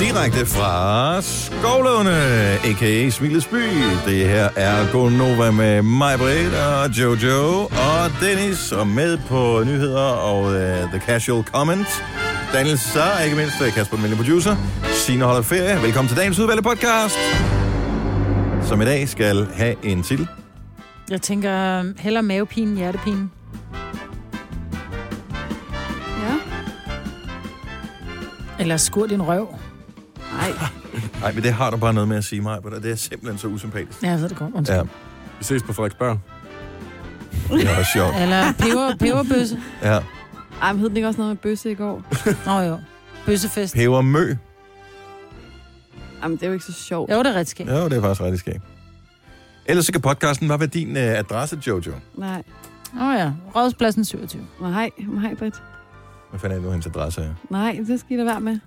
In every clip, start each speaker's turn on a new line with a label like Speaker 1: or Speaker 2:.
Speaker 1: direkte fra Skovlåne, a.k.a. Smilets By. Det her er Gonova med mig, Britt og Jojo og Dennis, og med på nyheder og uh, The Casual Comment. Daniel Saar, ikke mindst øh, Kasper Mille Producer. Signe holder ferie. Velkommen til dagens udvalgte podcast, som i dag skal have en titel.
Speaker 2: Jeg tænker, øhm, heller mavepine, hjertepine.
Speaker 3: Ja.
Speaker 2: Eller skur din røv.
Speaker 3: Nej.
Speaker 1: Nej, men det har du bare noget med at sige mig, og det er simpelthen så usympatisk.
Speaker 2: Ja, jeg ved det godt.
Speaker 1: Ja,
Speaker 2: Undskyld.
Speaker 4: Vi ses på Frederiksberg.
Speaker 1: det er også sjovt.
Speaker 2: Ja. Eller peber, peberbøsse.
Speaker 1: Ja.
Speaker 3: Ej, men hed den ikke også noget med bøsse i går?
Speaker 2: Nå jo. Bøssefest.
Speaker 1: Pebermø.
Speaker 3: Jamen, det er jo ikke så sjovt.
Speaker 2: Jo, det er ret skægt.
Speaker 1: Ja, det er faktisk rigtig skægt. Ellers så kan podcasten bare være din øh, adresse, Jojo.
Speaker 3: Nej.
Speaker 2: Åh oh, ja. Rådspladsen 27.
Speaker 3: Nej, nej, Britt.
Speaker 1: Hvad fanden er det nu, hendes adresse er?
Speaker 3: Nej, det skal I da være med.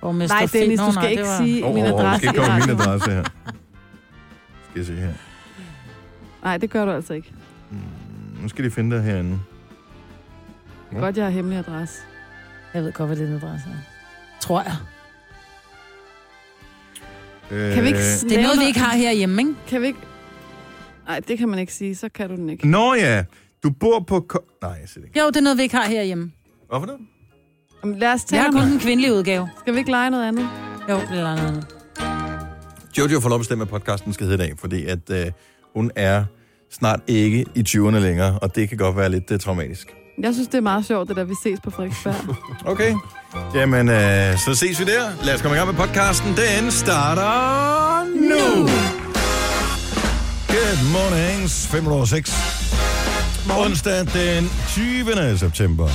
Speaker 2: Borgmester
Speaker 3: Nej,
Speaker 2: Finn.
Speaker 3: Dennis,
Speaker 2: Nå,
Speaker 3: du
Speaker 2: nej,
Speaker 3: skal
Speaker 2: det
Speaker 3: ikke
Speaker 2: var-
Speaker 3: sige min
Speaker 1: du
Speaker 3: adresse.
Speaker 1: skal ikke komme med
Speaker 3: i
Speaker 1: min
Speaker 3: radioen.
Speaker 1: adresse her. Skal jeg se her.
Speaker 3: Nej, det gør du altså ikke.
Speaker 1: Mm, nu skal de finde dig herinde. Ja.
Speaker 3: Godt, jeg har hemmelig adresse.
Speaker 2: Jeg ved godt, hvad din adresse er. Tror jeg.
Speaker 1: Øh,
Speaker 3: Kan vi ikke
Speaker 2: Det er
Speaker 3: lave
Speaker 2: noget, vi ikke har herhjemme, ikke?
Speaker 3: Kan vi ikke... Nej, det kan man ikke sige. Så kan du den ikke.
Speaker 1: Nå ja, du bor på... Ko- Nej, jeg siger det ikke.
Speaker 2: Jo, det er noget, vi ikke har herhjemme.
Speaker 1: Hvorfor det?
Speaker 3: Jamen, lad os
Speaker 2: Jeg
Speaker 3: tage
Speaker 2: har
Speaker 3: ham.
Speaker 2: kun den kvindelige udgave.
Speaker 3: Skal vi ikke lege noget andet?
Speaker 2: Jo, det er noget andet.
Speaker 1: Jojo får lov at bestemme, hvad podcasten skal hedde i dag, fordi at øh, hun er snart ikke i 20'erne længere, og det kan godt være lidt øh, traumatisk.
Speaker 3: Jeg synes, det er meget sjovt, det der, vi ses på Frederiksberg.
Speaker 1: Okay. Jamen, øh, så ses vi der. Lad os komme i gang med podcasten. Den starter nu. Good morning. 5 over 6. Onsdag den 20. september.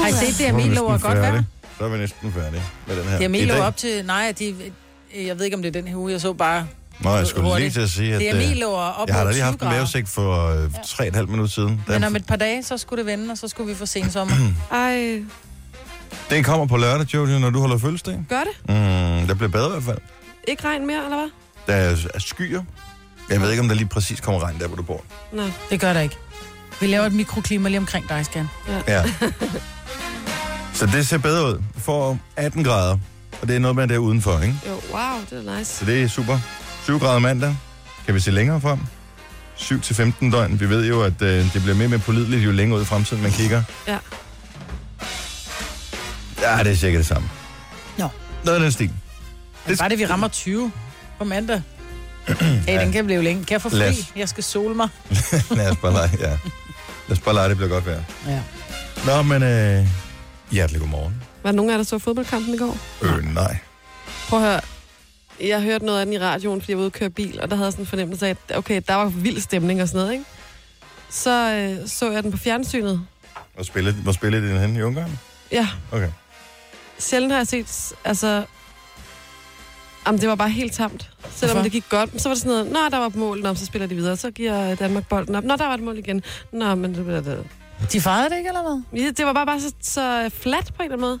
Speaker 2: Har I set det,
Speaker 1: Så er vi
Speaker 2: Emil
Speaker 1: næsten
Speaker 2: lover godt være?
Speaker 1: færdige. Så er vi næsten færdige med den her.
Speaker 2: Det er
Speaker 1: I
Speaker 2: Emil
Speaker 1: dag-
Speaker 2: lover op til... Nej, de, øh, jeg ved ikke, om det er den her uge. Jeg så bare...
Speaker 1: Nå, jeg skulle lige
Speaker 2: hurtigt.
Speaker 1: til at sige, at...
Speaker 2: Det er
Speaker 1: øh,
Speaker 2: Emil lover op
Speaker 1: jeg har da
Speaker 2: mod
Speaker 1: lige
Speaker 2: 20
Speaker 1: haft en
Speaker 2: grader.
Speaker 1: mavesæk for øh, tre og et halvt minut siden. Den,
Speaker 2: Men om et par dage, så skulle det vende, og så skulle vi få sensommer.
Speaker 3: Ej,
Speaker 1: den kommer på lørdag, Jojo, når du holder fødselsdag.
Speaker 3: gør det?
Speaker 1: Mm, det bliver bedre i hvert fald.
Speaker 3: Ikke regn mere, eller hvad?
Speaker 1: Der er er skyer. Jeg ved ikke, om der lige præcis kommer regn der, hvor du bor.
Speaker 3: Nej.
Speaker 2: Det gør der ikke. Vi laver et mikroklima lige omkring dig, Skan.
Speaker 1: Ja. Så det ser bedre ud. Du får 18 grader, og det er noget med, at det er udenfor, ikke?
Speaker 3: Jo, wow, det er nice.
Speaker 1: Så det er super. 7 grader mandag. Kan vi se længere frem? 7-15 døgn. Vi ved jo, at øh, det bliver mere og mere pålideligt, jo længere ud i fremtiden man kigger.
Speaker 3: Ja.
Speaker 1: Ja, det er cirka det samme.
Speaker 2: Nå.
Speaker 1: Noget af den stil.
Speaker 2: Det... Bare det, vi rammer 20 på mandag. Hey, den kan blive længe. Kan jeg få
Speaker 1: Lad
Speaker 2: fri?
Speaker 1: os.
Speaker 2: Jeg skal sole mig.
Speaker 1: Lad os bare lege, ja. Lad os bare lege, det bliver godt vejr.
Speaker 2: Ja.
Speaker 1: Nå, men øh, hjertelig godmorgen.
Speaker 5: Var der nogen af jer, der så fodboldkampen i går?
Speaker 1: Øh, nej.
Speaker 5: Prøv at høre. Jeg hørte noget af den i radioen, fordi jeg var ude og køre bil, og der havde jeg sådan en fornemmelse af, at okay, der var vild stemning og sådan noget, ikke? Så øh, så jeg den på fjernsynet.
Speaker 1: Hvor spillede, hvor spillede den hen i Ungarn?
Speaker 5: Ja,
Speaker 1: Okay.
Speaker 5: sjældent har jeg set, altså... Jamen, det var bare helt tamt. Selvom
Speaker 2: Hvorfor?
Speaker 5: det gik godt, så var det sådan noget, nå, der var et mål, nå, så spiller de videre, så giver Danmark bolden op, nå, der var et mål igen, nå, men det bliver det.
Speaker 2: De fejrede det ikke, eller hvad?
Speaker 5: Ja, Det var bare, bare så, så flat på en eller anden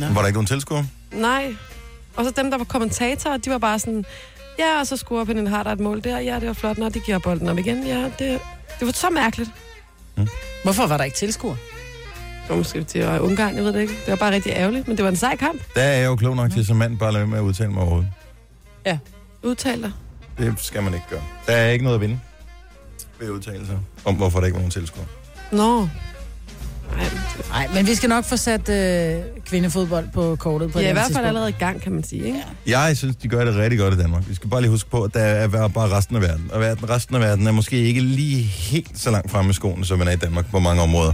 Speaker 5: måde.
Speaker 1: Var der ikke nogen tilskuer?
Speaker 5: Nej. Og så dem, der var kommentatorer, de var bare sådan, ja, og så scorer Pernille Harder et mål der, ja, det var flot, når de giver bolden op igen, ja, det, det var så mærkeligt.
Speaker 2: Mm. Hvorfor var der ikke tilskuer?
Speaker 5: Jo, måske det var Ungarn, jeg ved det ikke. Det var bare rigtig ærgerligt, men det var en sej kamp,
Speaker 1: Der er jeg jo klog nok til som mand bare at lade være med at udtale mig overhovedet.
Speaker 5: udtaler.
Speaker 1: Det skal man ikke gøre. Der er ikke noget at vinde ved udtalelser om, hvorfor der ikke var nogen tilskuer.
Speaker 5: Nå. Nej,
Speaker 2: Nej, men vi skal nok få sat øh, kvindefodbold på kortet på
Speaker 5: ja,
Speaker 2: et
Speaker 5: i
Speaker 2: andet
Speaker 5: hvert fald
Speaker 2: tidspunkt.
Speaker 5: allerede i gang, kan man sige, ikke?
Speaker 1: Jeg synes, de gør det rigtig godt i Danmark. Vi skal bare lige huske på, at der er bare- bare resten af verden. Og verden, resten af verden er måske ikke lige helt så langt fremme i skoene, som man er i Danmark på mange områder.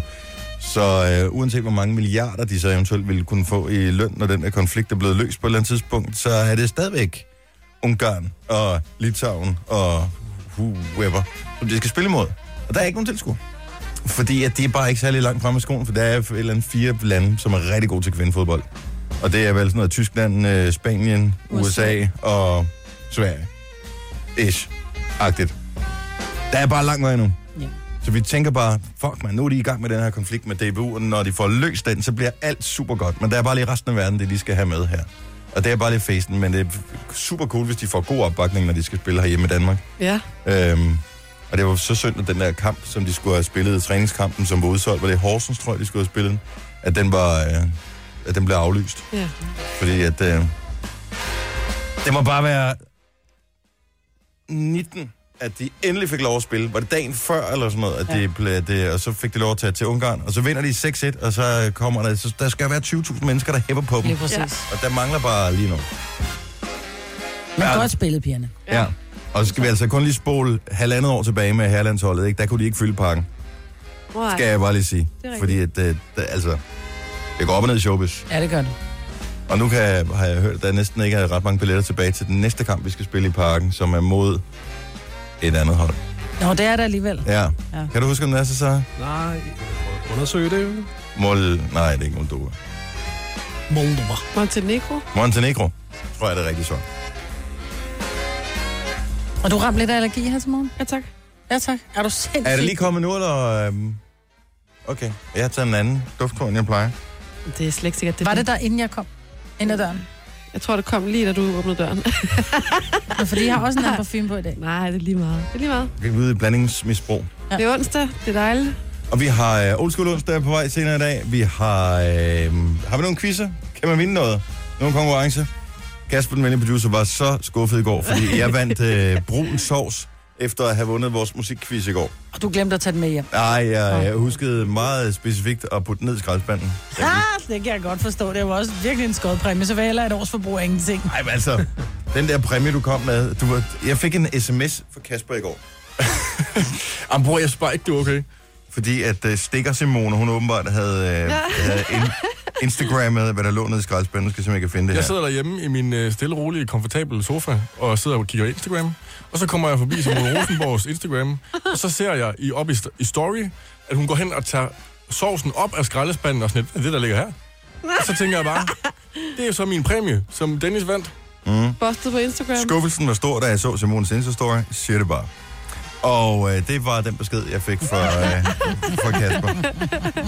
Speaker 1: Så øh, uanset hvor mange milliarder de så eventuelt ville kunne få i løn, når den her konflikt er blevet løst på et eller andet tidspunkt, så er det stadigvæk Ungarn og Litauen og whoever, som de skal spille imod. Og der er ikke nogen tilskuer. Fordi at det er bare ikke særlig langt fremme i skoen, for der er et eller andet fire lande, som er rigtig gode til kvindefodbold. Og det er vel sådan noget Tyskland, øh, Spanien, USA,
Speaker 2: USA.
Speaker 1: og Sverige. Ish. Agtigt. Der er bare lang vej nu.
Speaker 2: Ja.
Speaker 1: Så vi tænker bare, fuck man, nu er de i gang med den her konflikt med DBU, og når de får løst den, så bliver alt super godt. Men der er bare lige resten af verden, det de skal have med her. Og det er bare lidt festen, men det er super cool, hvis de får god opbakning, når de skal spille herhjemme i Danmark.
Speaker 5: Ja.
Speaker 1: Øhm, og det var så synd, at den der kamp, som de skulle have spillet, træningskampen, som var udsolgt, var det Horsens, tror jeg, de skulle have spillet, at den var, øh, at den blev aflyst.
Speaker 5: Ja.
Speaker 1: Fordi at... Øh, det må bare være 19, at de endelig fik lov at spille. Var det dagen før eller sådan noget, at ja.
Speaker 2: Ja.
Speaker 1: det blev, at det, og så fik de lov at tage til Ungarn. Og så vinder de 6-1, og så øh, kommer der... Så der skal være 20.000 mennesker, der hæpper på dem.
Speaker 2: Lige præcis. Ja.
Speaker 1: Og der mangler bare lige nu.
Speaker 2: Men
Speaker 1: Ja.
Speaker 2: godt spillet, pigerne.
Speaker 1: Ja. ja. Og så skal vi altså kun lige spole halvandet år tilbage med herrelandsholdet, ikke? Der kunne de ikke fylde pakken,
Speaker 5: Wow.
Speaker 1: skal jeg bare lige sige.
Speaker 5: er rigtigt.
Speaker 1: Fordi at, øh, der, altså, det går op og ned i showbiz.
Speaker 2: Ja, det gør det.
Speaker 1: Og nu kan, jeg- har jeg hørt, at der næsten ikke er ret mange billetter tilbage til den næste kamp, vi skal spille i parken, som er mod et andet hold.
Speaker 2: Nå, det er der alligevel.
Speaker 1: Ja. ja.
Speaker 2: Ja.
Speaker 1: Kan du huske, om det er så så?
Speaker 4: Nej, undersøg det jo.
Speaker 1: Mol... Nej, det er ikke Moldova.
Speaker 2: Moldova.
Speaker 5: Montenegro?
Speaker 1: Montenegro, tror jeg, det er rigtigt svar.
Speaker 2: Og du ramte lidt af allergi her til morgen?
Speaker 5: Ja, tak.
Speaker 2: Ja, tak. Er du sindssyg?
Speaker 1: Er det lige kommet nu, eller... øhm, Okay, jeg har taget en anden duftkorn, end jeg plejer.
Speaker 5: Det er slet ikke sikkert. Det
Speaker 2: Var det der, inden jeg kom? Ind ad døren?
Speaker 5: Jeg tror, det kom lige, da du åbnede døren.
Speaker 2: Nå, fordi jeg har også en anden parfume på i dag.
Speaker 5: Nej, det er lige meget. Det er lige meget.
Speaker 1: Vi er ude i blandingsmisbrug.
Speaker 2: Ja.
Speaker 5: Det er onsdag. Det er dejligt.
Speaker 1: Og vi har øh, Old School onsdag på vej senere i dag. Vi har... Øh, har vi nogle quizzer? Kan man vinde noget? Nogle konkurrence? Kasper, den venlige producer, var så skuffet i går, fordi jeg vandt øh, brun sovs efter at have vundet vores musikquiz i går.
Speaker 2: Og du glemte at tage den med hjem.
Speaker 1: Nej, jeg, jeg huskede meget specifikt at putte den ned i skraldespanden.
Speaker 2: Ah, det kan jeg godt forstå. Det var også virkelig en skød præmie, så var jeg heller et års forbrug af ingenting.
Speaker 1: Nej, men altså, den der præmie, du kom med, du var, jeg fik en sms fra Kasper i går,
Speaker 4: Jamen, bror, jeg spørger ikke, du er okay.
Speaker 1: fordi at uh, Stikker Simone, hun åbenbart havde, uh, havde in, Instagrammet, hvad der lå nede i skraldespanden, nu skal jeg simpelthen ikke finde det
Speaker 4: Jeg
Speaker 1: her.
Speaker 4: sidder derhjemme i min øh, stille, rolige, komfortable sofa, og sidder og kigger Instagram. Og så kommer jeg forbi som Rosenborgs Instagram, og så ser jeg i, op i, st- i story, at hun går hen og tager sovsen op af skraldespanden og sådan lidt, "Det er det, der ligger her. Og så tænker jeg bare, det er jo så min præmie, som Dennis vandt.
Speaker 1: Mm.
Speaker 5: Bostet på Instagram.
Speaker 1: Skuffelsen var stor, da jeg så Simones Insta-story. Siger det bare. Og øh, det var den besked, jeg fik fra, øh, fra Kasper.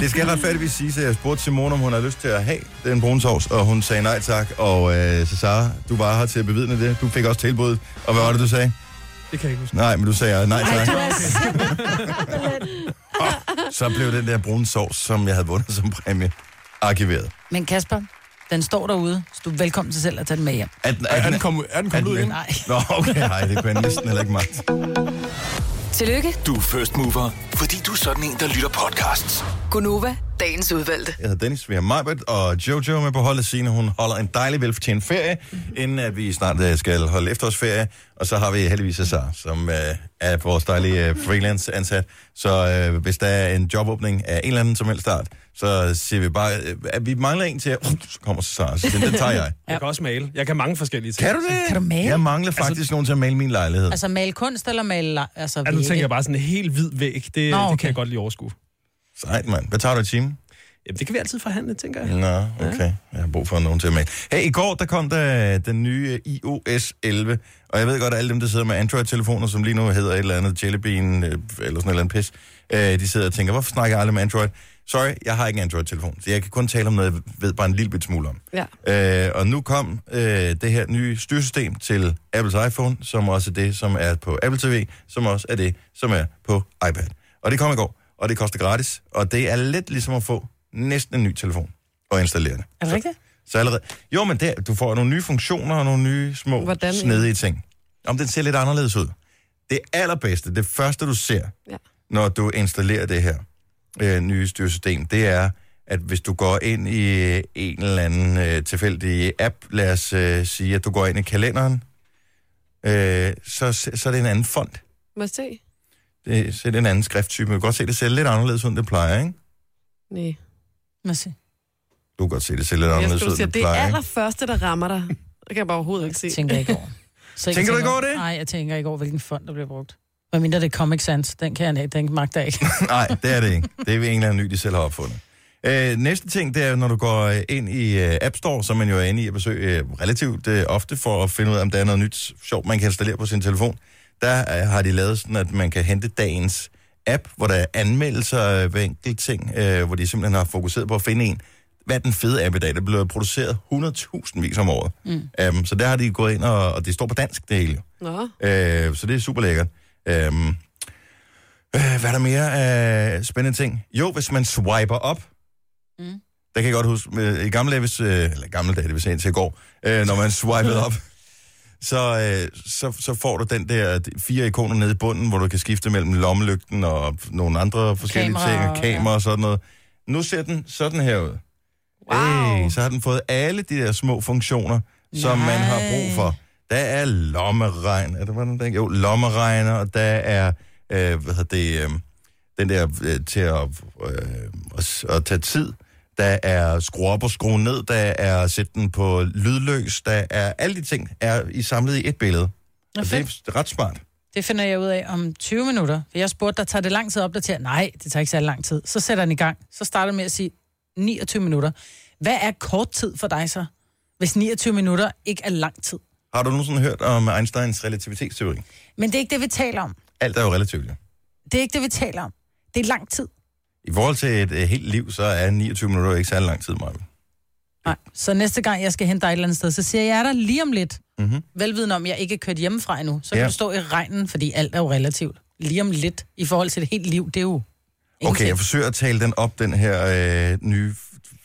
Speaker 1: Det skal retfærdigvis sige, at jeg spurgte Simone, om hun har lyst til at have den brune sovs, og hun sagde nej tak. Og øh, så Sara, du var her til at bevidne det. Du fik også tilbuddet. Og hvad var det, du sagde?
Speaker 4: Det kan jeg ikke huske.
Speaker 1: Nej, men du sagde nej tak.
Speaker 2: er
Speaker 1: Så blev den der brune sovs, som jeg havde vundet som præmie, arkiveret.
Speaker 2: Men Kasper, den står derude, så du er velkommen til selv at tage den med hjem.
Speaker 1: Er den,
Speaker 4: Er, er den kommet er den
Speaker 1: er
Speaker 4: kommet
Speaker 1: den
Speaker 4: ud
Speaker 1: med?
Speaker 4: igen?
Speaker 2: Nej.
Speaker 1: Nå, okay, nej, det kunne jeg næsten heller ikke magt.
Speaker 6: Tillykke,
Speaker 7: Du er first mover, fordi du er sådan en, der lytter podcasts.
Speaker 6: Gunova, dagens udvalgte.
Speaker 1: Jeg hedder Dennis, vi har Majbert og Jojo med på holdet. Signe, hun holder en dejlig velfortjent ferie, inden at vi snart øh, skal holde efterårsferie. Og så har vi heldigvis Cesar, som øh, er vores dejlige øh, freelance-ansat. Så øh, hvis der er en jobåbning af en eller anden som helst start, så siger vi bare, øh, at vi mangler en til, uh, så kommer Cesar, så siger, den tager jeg.
Speaker 8: Jeg kan også male. Jeg kan mange forskellige ting.
Speaker 1: Kan du det?
Speaker 2: Kan du male?
Speaker 1: Jeg mangler faktisk altså, nogen til at male min lejlighed.
Speaker 2: Altså male kunst eller male... le- Altså,
Speaker 8: Ja, nu tænker jeg bare sådan en helt hvid væg. Det, Nå,
Speaker 2: Nå,
Speaker 8: okay. det
Speaker 2: okay.
Speaker 8: kan jeg godt lige overskue.
Speaker 1: Sejt, mand. Hvad tager du i timen?
Speaker 8: Jamen, det kan vi altid forhandle, tænker jeg.
Speaker 1: Nå, okay. Jeg har brug for nogen til at male. Hey, i går der kom der den nye øh, iOS 11, og jeg ved godt, at alle dem, der sidder med Android-telefoner, som lige nu hedder et eller andet Jelly Bean, øh, eller sådan et eller andet pis, øh, de sidder og tænker, hvorfor snakker jeg aldrig med Android? Sorry, jeg har ikke en Android-telefon, så jeg kan kun tale om noget, jeg ved bare en lille bit smule om.
Speaker 5: Ja.
Speaker 1: Øh, og nu kom øh, det her nye styresystem til Apples iPhone, som også er det, som er på Apple TV, som også er det, som er på iPad. Og det kom i går, og det koster gratis, og det er lidt ligesom at få næsten en ny telefon og installere det.
Speaker 2: Er det rigtigt?
Speaker 1: Så allerede... Jo, men der, du får nogle nye funktioner og nogle nye små Hvordan,
Speaker 5: Hvordan, ja?
Speaker 1: snedige ting. Om den ser lidt anderledes ud. Det allerbedste, det første du ser, ja.
Speaker 5: Ja.
Speaker 1: når du installerer det her øh, nye styresystem, det er, at hvis du går ind i øh, en eller anden øh, tilfældig app, lad os øh, sige, at du går ind i kalenderen, øh, så, så er det en anden font.
Speaker 5: Må jeg se?
Speaker 1: Det, så er det en anden skrifttype. Man kan godt se, det ser lidt anderledes ud, end det plejer, ikke?
Speaker 5: Nej.
Speaker 2: Må se.
Speaker 1: Du kan godt se, det ser lidt
Speaker 5: Jeg
Speaker 1: anderledes
Speaker 5: skulle
Speaker 1: ud,
Speaker 5: sige,
Speaker 1: end det
Speaker 5: det er
Speaker 1: plejer, ikke?
Speaker 5: allerførste, der rammer dig. Det kan jeg bare overhovedet ikke se.
Speaker 2: Det tænker jeg ikke over. Så
Speaker 1: Tænker du ikke over det?
Speaker 2: Nej, jeg tænker ikke over, hvilken fond, der bliver brugt. Hvad mindre det er Comic Sans, den kan jeg ikke, den magter jeg ikke.
Speaker 1: Nej, det er det ikke. Det er ved en eller anden ny, de selv har opfundet. Øh, næste ting, det er, når du går øh, ind i øh, App Store, som man jo er inde i at besøge øh, relativt øh, ofte, for at finde ud af, om der er noget nyt sjovt, man kan installere på sin telefon. Der øh, har de lavet sådan, at man kan hente dagens app, hvor der er anmeldelser af hver enkelt ting, øh, hvor de simpelthen har fokuseret på at finde en. Hvad er den fede app i dag? Der bliver produceret 100.000 vis om året. Mm. Um, så der har de gået ind, og, og det står på dansk, det hele. jo.
Speaker 5: Nå,
Speaker 1: Øh, så det er super lækkert. Øh, øh, hvad er der mere af spændende ting? Jo, hvis man swiper op, mm. Der kan jeg godt huske, øh, i gamle dage, hvis, øh, eller gamle dage, det vil sige indtil i går, øh, når man swipede op, så, øh, så, så får du den der fire ikoner nede i bunden, hvor du kan skifte mellem lommelygten og nogle andre forskellige
Speaker 2: Kameraer,
Speaker 1: ting, og kamera og sådan noget. Nu ser den sådan her ud.
Speaker 2: Wow.
Speaker 1: Ey, så har den fået alle de der små funktioner, som man har brug for. Der er lommeregn, er det, hvordan den Jo, lommeregner, og der er, øh, hvad hedder det, øh, den der øh, til at, øh, at, s- at tage tid. Der er skrue op og skrue ned, der er at sætte den på lydløs, der er alle de ting er i samlet i et billede.
Speaker 2: Nå,
Speaker 1: Og det
Speaker 2: fedt.
Speaker 1: er ret smart.
Speaker 2: Det finder jeg ud af om 20 minutter. For jeg spurgte dig, tager det lang tid at opdatere? Nej, det tager ikke særlig lang tid. Så sætter den i gang. Så starter den med at sige 29 minutter. Hvad er kort tid for dig så, hvis 29 minutter ikke er lang tid?
Speaker 1: Har du nogensinde hørt om Einsteins relativitetsteori?
Speaker 2: Men det er ikke det, vi taler om.
Speaker 1: Alt er jo relativt, ja.
Speaker 2: Det er ikke det, vi taler om. Det er lang tid.
Speaker 1: I forhold til et, et helt liv, så er 29 minutter jo ikke særlig lang tid, Maja.
Speaker 2: Nej. Så næste gang, jeg skal hente dig et eller andet sted, så siger jeg, jeg er der lige om lidt.
Speaker 1: Mhm.
Speaker 2: Velviden om, jeg ikke er kørt hjemmefra endnu. Så kan
Speaker 1: Ja.
Speaker 2: du stå i regnen, fordi alt er jo relativt. Lige om lidt, i forhold til et helt liv, det er jo
Speaker 1: Okay,
Speaker 2: ingenting.
Speaker 1: jeg forsøger at tale den op, den her øh, nye...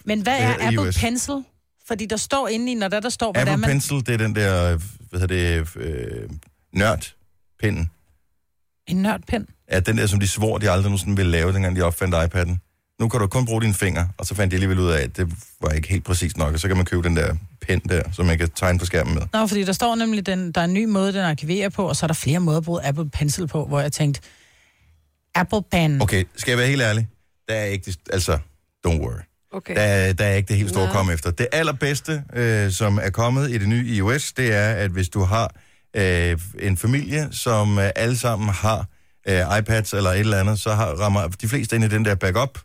Speaker 2: Men hvad
Speaker 1: Hvad
Speaker 2: er
Speaker 1: hedder
Speaker 2: Apple
Speaker 1: iOS?
Speaker 2: Pencil? Fordi der står inde i, når der, der står,
Speaker 1: Apple
Speaker 2: hvordan man...
Speaker 1: Pencil, det er den der, øh, hvad hedder det, øh, nørdpinden.
Speaker 2: En nørdpen.
Speaker 1: Er den der, som de svor, de aldrig nogensinde ville lave, dengang de opfandt iPad'en. Nu kan du kun bruge dine fingre, og så fandt de alligevel ud af, at det var ikke helt præcist nok, og så kan man købe den der pen der, som man kan tegne på skærmen med.
Speaker 2: Nå, fordi der står nemlig, den, der er en ny måde, den arkiverer på, og så er der flere måder at bruge Apple Pencil på, hvor jeg tænkte, Apple Pen.
Speaker 1: Okay, skal jeg være helt ærlig? Der er ikke, det- altså, don't worry.
Speaker 5: Okay.
Speaker 1: Der, er- der er ikke det helt store
Speaker 5: Nå.
Speaker 1: at komme efter. Det allerbedste, øh, som er kommet i det nye iOS, det er, at hvis du har øh, en familie, som øh, alle sammen har øh, iPads eller et eller andet, så har, rammer de fleste ind i den der backup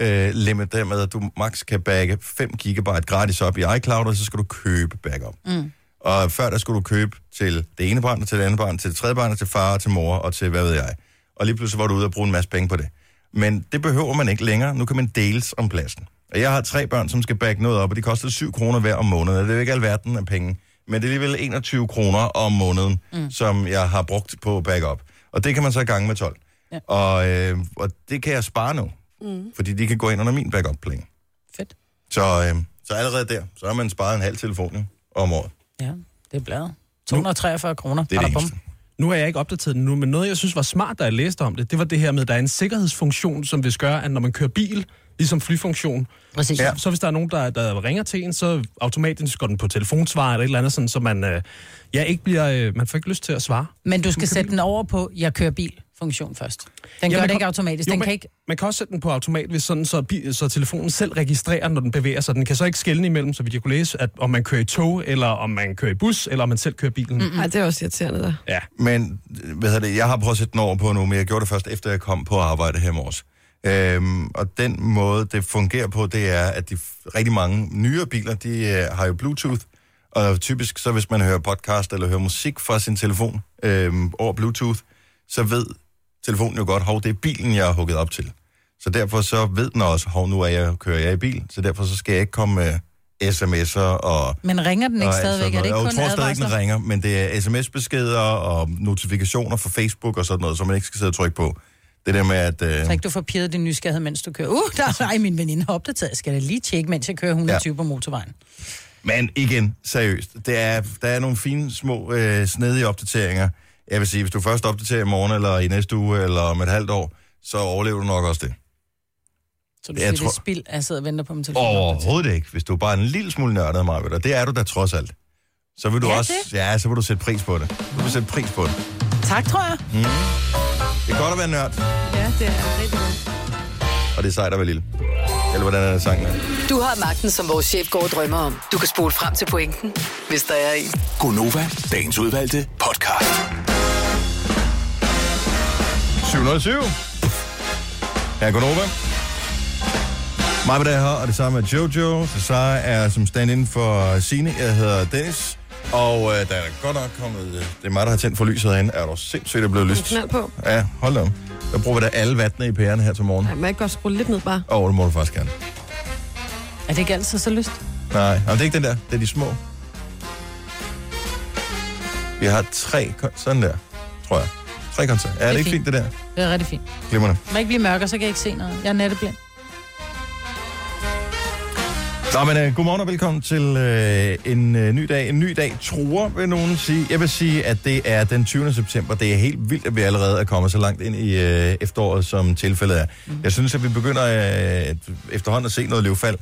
Speaker 1: øh, limit, der med, at du max kan bagge 5 GB gratis op i iCloud, og så skal du købe backup. Mm. Og før der skulle du købe til det ene barn, og til det andet barn, til det tredje barn, og til far, og til mor, og til hvad ved jeg. Og lige pludselig var du ude og bruge en masse penge på det. Men det behøver man ikke længere. Nu kan man deles om pladsen. Og jeg har tre børn, som skal bagge noget op, og de koster 7 kroner hver om måneden. Og Det er jo ikke alverden af penge, men det er alligevel 21 kroner om måneden, mm. som jeg har brugt på backup. Og det kan man så gange med 12. Ja. Og, øh, og det kan jeg spare nu,
Speaker 9: 嗯
Speaker 1: mm. fordi de kan gå ind under min backup-plan.
Speaker 2: Fedt.
Speaker 1: Så, øh, så allerede der, så har man sparet en halv telefon jo, om året.
Speaker 2: Ja, det er bladet. 243 kroner.
Speaker 1: Det er det
Speaker 2: Badabum.
Speaker 1: eneste.
Speaker 8: Nu har jeg ikke opdateret den nu, men noget, jeg synes var smart, da jeg læste om det, det var det her med, at der er en sikkerhedsfunktion, som vil gøre, at når man kører bil, ligesom flyfunktion,
Speaker 2: Præcis.
Speaker 8: ja. så hvis der er nogen, der, der ringer til en, så automatisk går den på telefonsvar eller et eller andet, sådan, så man, øh, ja, ikke bliver, øh, man får ikke lyst til at svare.
Speaker 2: Men du skal sætte den over på, jeg kører bil-funktion først. Den
Speaker 8: Ja,
Speaker 2: gør
Speaker 8: man
Speaker 2: det
Speaker 8: kan-
Speaker 2: ikke automatisk.
Speaker 8: Jo,
Speaker 2: Den
Speaker 8: man,
Speaker 2: kan ikke...
Speaker 8: man kan også sætte den på automat, hvis sådan, så, bi- så telefonen selv registrerer, når den bevæger sig. Den kan så ikke skelne imellem, så vi kan kunne læse, at om man kører i tog, eller om man kører i bus, eller om man selv kører bilen. Mm.
Speaker 5: Ej, det er også irriterende der.
Speaker 8: Ja.
Speaker 1: Men hvad hedder det, jeg har prøvet at sætte den over på nu, men jeg gjorde det først efter jeg kom på arbejde her i morges. Øhm, og den måde, det fungerer på, det er, at de f- rigtig mange nyere biler, de øh, har jo Bluetooth. Og typisk, så hvis man hører podcast eller hører musik fra sin telefon øhm, over Bluetooth, så ved telefonen jo godt, hov, det er bilen, jeg har hugget op til. Så derfor så ved den også, hov, nu er jeg, kører jeg i bil, så derfor så skal jeg ikke komme med sms'er og
Speaker 2: Men ringer den ikke
Speaker 1: og alt
Speaker 2: stadigvæk? Er
Speaker 1: sådan
Speaker 2: det ikke
Speaker 1: noget.
Speaker 2: kun
Speaker 1: jeg tror stadig ikke, den
Speaker 2: advarsler?
Speaker 1: ringer, men det er sms-beskeder og notifikationer fra Facebook og sådan noget, som man ikke skal sidde og trykke på. Det der med, at...
Speaker 2: Så
Speaker 1: Øh,
Speaker 2: ikke du får pirret din nysgerrighed, mens du kører. Uh, der er ej, min veninde har opdateret. Skal jeg lige tjekke, mens jeg kører 120 ja. på motorvejen?
Speaker 1: men igen, seriøst, det er, der er nogle fine, små, øh, snedige opdateringer. Jeg vil sige, hvis du først opdaterer i morgen, eller i næste uge, eller om et halvt år, så overlever du nok også det.
Speaker 2: Så du
Speaker 1: Jeg
Speaker 2: siger, det
Speaker 1: tror-
Speaker 2: er spild, at jeg sidder og venter på min telefon.
Speaker 1: Overhovedet ikke, hvis du er bare en lille smule nørdet mig, og det er du da trods alt. Så vil du
Speaker 2: Er
Speaker 1: også,
Speaker 2: det?
Speaker 1: ja, så vil du sætte pris på det. Du vil sætte pris på det. Mhm.
Speaker 2: Tak, tror jeg.
Speaker 1: Det er godt at være nørd,
Speaker 3: Ja, det er rigtig godt.
Speaker 1: og det er sejt at være lille. Eller hvordan er det sangen? Er?
Speaker 6: Du har magten, som vores chef går og drømmer om. Du kan spole frem til pointen, hvis der er en.
Speaker 7: Gonova, dagens udvalgte podcast.
Speaker 1: 707. Her er Gunova. Mig er her, og det samme er Jojo. Så Sara er som stand-in for Sine. Jeg hedder Dennis. Og øh, der er godt nok kommet... Øh, det er mig, der har tændt for lyset herinde. Er du sindssygt, det er blevet lyst?
Speaker 5: Knald på.
Speaker 1: Ja, hold da om. Der bruger vi da alle vattene i pærerne her til morgen.
Speaker 5: Ej, må jeg ikke godt skrue lidt ned bare?
Speaker 1: Åh, oh, det må du faktisk gerne.
Speaker 2: Er det ikke altid så lyst?
Speaker 1: Nej, Jamen, det er ikke den der. Det er de små. Vi har tre... kon- Sådan der, tror jeg. Tre koncerter. Er det,
Speaker 2: er
Speaker 1: ikke fint,
Speaker 2: fint.
Speaker 1: det der?
Speaker 2: Det er rigtig fint.
Speaker 1: Glimrende.
Speaker 2: Må jeg ikke blive mørkere, så kan jeg ikke se noget. Jeg er natteblind.
Speaker 1: Nå, men øh, godmorgen og velkommen til øh, en øh, ny dag. En ny dag tror, vil nogen sige. Jeg vil sige, at det er den 20. september. Det er helt vildt, at vi allerede er kommet så langt ind i øh, efteråret, som tilfældet er. Mm. Jeg synes, at vi begynder øh, efterhånden at se noget løvfald.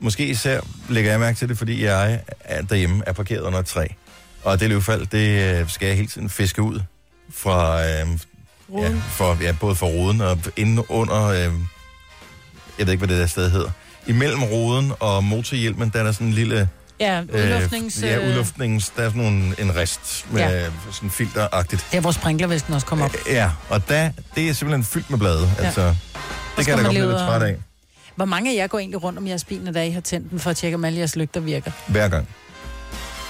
Speaker 1: Måske især lægger jeg mærke til det, fordi jeg er derhjemme er parkeret under et træ. Og det løvfald, det øh, skal jeg hele tiden fiske ud fra... Øh, ja, for, ja, både for roden og inden under... Øh, jeg ved ikke, hvad det der sted hedder. Imellem roden og motorhjelmen, der er der sådan en lille...
Speaker 2: Ja, udluftnings...
Speaker 1: Øh, ja, udluftnings... Der er sådan nogle, en rest med
Speaker 2: Ja.
Speaker 1: ja. sådan filteragtigt.
Speaker 2: Der, hvor sprinklervæsken også kommer op.
Speaker 1: Ja, og der, det er simpelthen fyldt med blade.
Speaker 2: Ja.
Speaker 1: Altså, det kan
Speaker 2: skal
Speaker 1: jeg da
Speaker 2: man
Speaker 1: godt blive
Speaker 2: lede
Speaker 1: lidt
Speaker 2: og-
Speaker 1: træt af
Speaker 2: Hvor mange af jer går egentlig rundt om jeres bil, når der I har tændt den, for at tjekke, om alle jeres lygter virker?
Speaker 1: hver gang.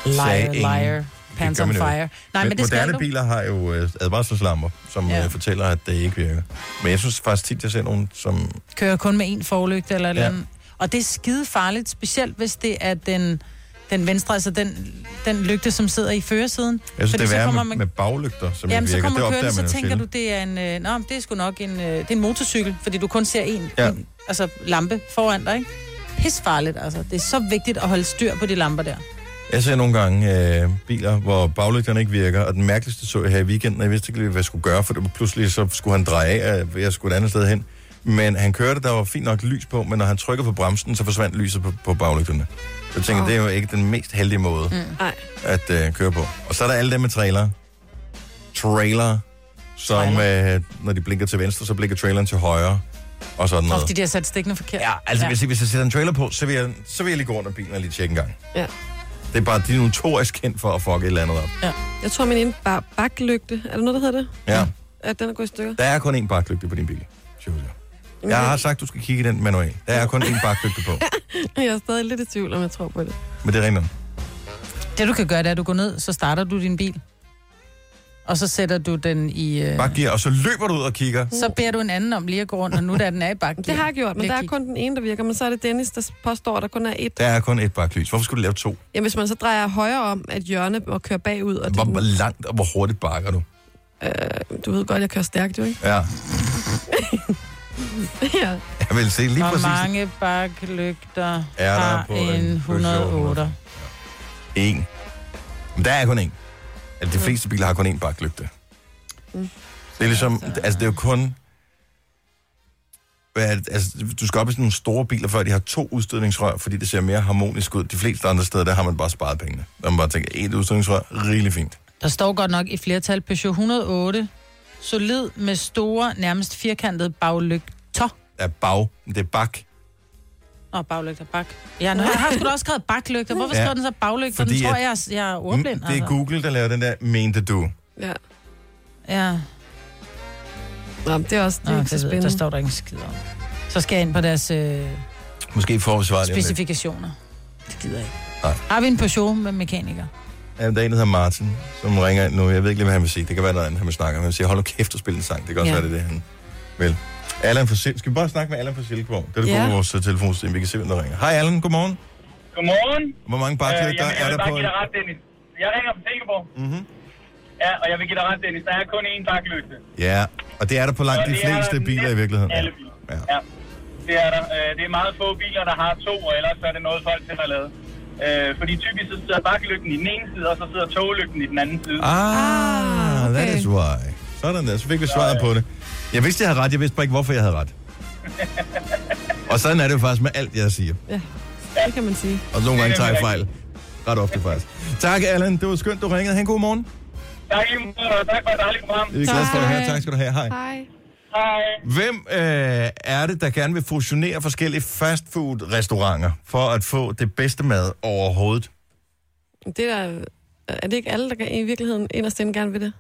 Speaker 1: Sagde
Speaker 2: Liar,
Speaker 1: ingen.
Speaker 2: liar, pants
Speaker 1: gør
Speaker 2: on
Speaker 1: man jo.
Speaker 2: fire. Nej, men, men det skal
Speaker 1: moderne
Speaker 2: du.
Speaker 1: biler har jo øh, advarselslamper, som
Speaker 2: Ja.
Speaker 1: ja. øh, fortæller, at det ikke virker. Men jeg synes faktisk tit, jeg ser nogen, som...
Speaker 2: Kører kun med en forlygte eller et
Speaker 1: Ja.
Speaker 2: eller andet. Og det er skide farligt, specielt hvis det er den, den venstre, altså den, den lygte, som sidder i førersiden.
Speaker 1: Jeg synes,
Speaker 2: Fordi
Speaker 1: det
Speaker 2: så
Speaker 1: er værre
Speaker 2: kommer
Speaker 1: med,
Speaker 2: man-
Speaker 1: med baglygter, som
Speaker 2: Jamen,
Speaker 1: ikke
Speaker 2: så
Speaker 1: virker.
Speaker 2: kommer
Speaker 1: det
Speaker 2: kørende,
Speaker 1: opdager man
Speaker 2: så
Speaker 1: jo
Speaker 2: tænker du,
Speaker 1: sjældent.
Speaker 2: det er en, øh, nå, men det er sgu nok en, øh, det er en motorcykel, fordi du kun ser en,
Speaker 1: Ja.
Speaker 2: en altså, lampe foran dig, ikke? Pisfarligt, altså. Det er så vigtigt at holde styr på de lamper der.
Speaker 1: Jeg ser nogle gange øh, biler, hvor baglygterne ikke virker, og den mærkeligste så jeg her i weekenden, og jeg vidste ikke lige, hvad jeg skulle gøre, for det var pludselig så skulle han dreje af, og jeg skulle et andet sted hen. Men han kørte, der var fint nok lys på, men når han trykker på bremsen, så forsvandt lyset på, på baglygterne. Så jeg tænker, oh. det er jo ikke den mest heldige måde
Speaker 2: Mm.
Speaker 5: Nej.
Speaker 1: at øh, køre på. Og så er der alle dem med trailer. Trailer, som øh, når de blinker til venstre, så blinker traileren til højre, og sådan
Speaker 2: Og
Speaker 1: noget.
Speaker 2: de der sat stikkene forkert.
Speaker 1: Ja, altså ja. Hvis, jeg, hvis jeg sætter en trailer på, så vil jeg, så vil jeg lige gå rundt om bilen og lige tjekke en gang.
Speaker 5: Ja.
Speaker 1: Det er bare, de er notorisk kendt for at fuck et eller andet op.
Speaker 5: Jeg tror, min ene bar- baklygte, er der noget, der hedder det?
Speaker 1: Ja.
Speaker 5: At den er gået i stykker?
Speaker 1: Der er kun én baklygte på din bil. synes jeg. Jeg har sagt, du skal kigge i den manual. Der er kun én baklygte på.
Speaker 5: Jeg er stadig lidt i tvivl, om jeg tror på det.
Speaker 1: Men det er rigtigt. nok.
Speaker 2: Det du kan gøre, det er, at du går ned, så starter du din bil. Og så sætter du den i... Øh,
Speaker 1: Bakgear, og så løber du ud og kigger.
Speaker 2: så beder du en anden om lige at gå rundt, og nu da den er i bakken.
Speaker 5: Det har jeg gjort, men der er kun den ene, der virker. Men så er det Dennis, der påstår, at der kun er et.
Speaker 1: Der er kun et baklys. Hvorfor skulle du lave to?
Speaker 5: Jamen, hvis man så drejer højere om, at hjørne og kører bagud, og
Speaker 1: Hvor, hvor
Speaker 5: det,
Speaker 1: langt og hvor hurtigt bakker du?
Speaker 5: øh, du ved godt, jeg kører stærkt jo, ikke?
Speaker 1: Ja,
Speaker 5: ja.
Speaker 1: jeg vil se lige
Speaker 2: Hvor
Speaker 1: præcis.
Speaker 2: mange baklygter
Speaker 1: Er der
Speaker 2: har
Speaker 1: på
Speaker 2: en
Speaker 1: en
Speaker 2: 108?
Speaker 1: En. Men der er kun en. Altså,
Speaker 2: Mm.
Speaker 1: de fleste biler har kun én baklygte. Det er ligesom, altså det er jo kun... Hvad er det, altså, du skal op i sådan nogle store biler, før de har to udstødningsrør, fordi det ser mere harmonisk ud. De fleste andre steder, der har man bare sparet pengene. Der man bare tænker, et udstødningsrør, rigelig fint.
Speaker 2: Der står godt nok i flertal Peugeot 108. Solid med store, nærmest firkantede baglygter.
Speaker 1: Der er bag, det er bak,
Speaker 2: Nå, baglygter, bak. Ja, nu har jeg sgu da også skrevet baklygter. Hvorfor
Speaker 1: Ja.
Speaker 2: ja. står den så baglygter? Fordi
Speaker 1: Fordi
Speaker 2: den tror,
Speaker 1: at-
Speaker 2: jeg, er- jeg er ordblind.
Speaker 1: Mm,
Speaker 2: altså.
Speaker 1: det er Google, der laver den der, mente du.
Speaker 5: ja.
Speaker 2: Ja.
Speaker 5: Nå, men det er også det
Speaker 2: Nå,
Speaker 5: er
Speaker 2: det
Speaker 5: ikke så
Speaker 2: ved, jeg.
Speaker 5: spændende.
Speaker 2: der står der ikke en skid om. Så skal jeg ind på deres øh,
Speaker 1: Måske får vi svaret. lige om lidt.
Speaker 2: specifikationer. Det gider jeg ikke.
Speaker 1: Nej.
Speaker 2: Har vi en Peugeot med mekaniker?
Speaker 1: Ja, der er en, der hedder Martin, som ringer ind nu. Jeg ved ikke lige, hvad han vil sige. Det kan være noget andet, han vil snakke om. Han siger, hold nu kæft og spil en sang. Det kan også
Speaker 2: Ja.
Speaker 1: ja. være, det er det, han vil. Allan fra Sil- Skal vi bare snakke med Allan fra Silkeborg? Det er det
Speaker 5: Ja.
Speaker 1: gode ved vores uh, telefonsystem. Vi kan se, hvem der ringer. Hej Allan, godmorgen.
Speaker 9: Godmorgen.
Speaker 1: Hvor mange
Speaker 9: Øh,
Speaker 1: bakker
Speaker 9: jamen,
Speaker 1: der
Speaker 9: jeg
Speaker 1: er
Speaker 9: vil
Speaker 1: der
Speaker 9: bare
Speaker 1: på?
Speaker 9: give dig ret, Dennis. Jeg ringer fra Silkeborg.
Speaker 1: Mhm.
Speaker 9: Ja, og jeg vil give dig ret, Dennis. Der er kun én baklygte.
Speaker 1: Ja, og det er der på langt
Speaker 9: Og
Speaker 1: de
Speaker 9: det er
Speaker 1: fleste
Speaker 9: næsten
Speaker 1: biler i virkeligheden.
Speaker 9: Alle biler.
Speaker 1: Ja.
Speaker 9: ja. Det er der. Øh, Det er meget få biler, der har to, og ellers er det noget, folk selv har lavet. Øh, Fordi typisk så sidder baklygten i den ene side, og så sidder toglygten i den anden side.
Speaker 1: Ah,
Speaker 5: okay.
Speaker 1: that is why. Sådan der, så fik vi svaret på det. Jeg vidste, jeg havde ret. Jeg vidste bare ikke, hvorfor jeg havde ret. og sådan er det jo faktisk med alt, jeg siger.
Speaker 5: Det kan man sige.
Speaker 1: Og nogle gange
Speaker 9: Det er
Speaker 1: tager jeg
Speaker 9: rigtigt.
Speaker 1: fejl. Ret ofte faktisk. Tak, Allan. Det var skønt, du ringede. Ha' en god morgen.
Speaker 9: Tak, i lige måde, og tak for et dejligt program.
Speaker 1: Det er vi glade for at høre. Tak skal du have. Hej.
Speaker 5: Hej.
Speaker 9: Hej.
Speaker 1: Hvem øh, er det, der gerne vil fusionere forskellige fastfood-restauranter for at få det bedste mad overhovedet?
Speaker 5: Det der, Øh, er det ikke alle, der i virkeligheden inderst inde gerne vil det?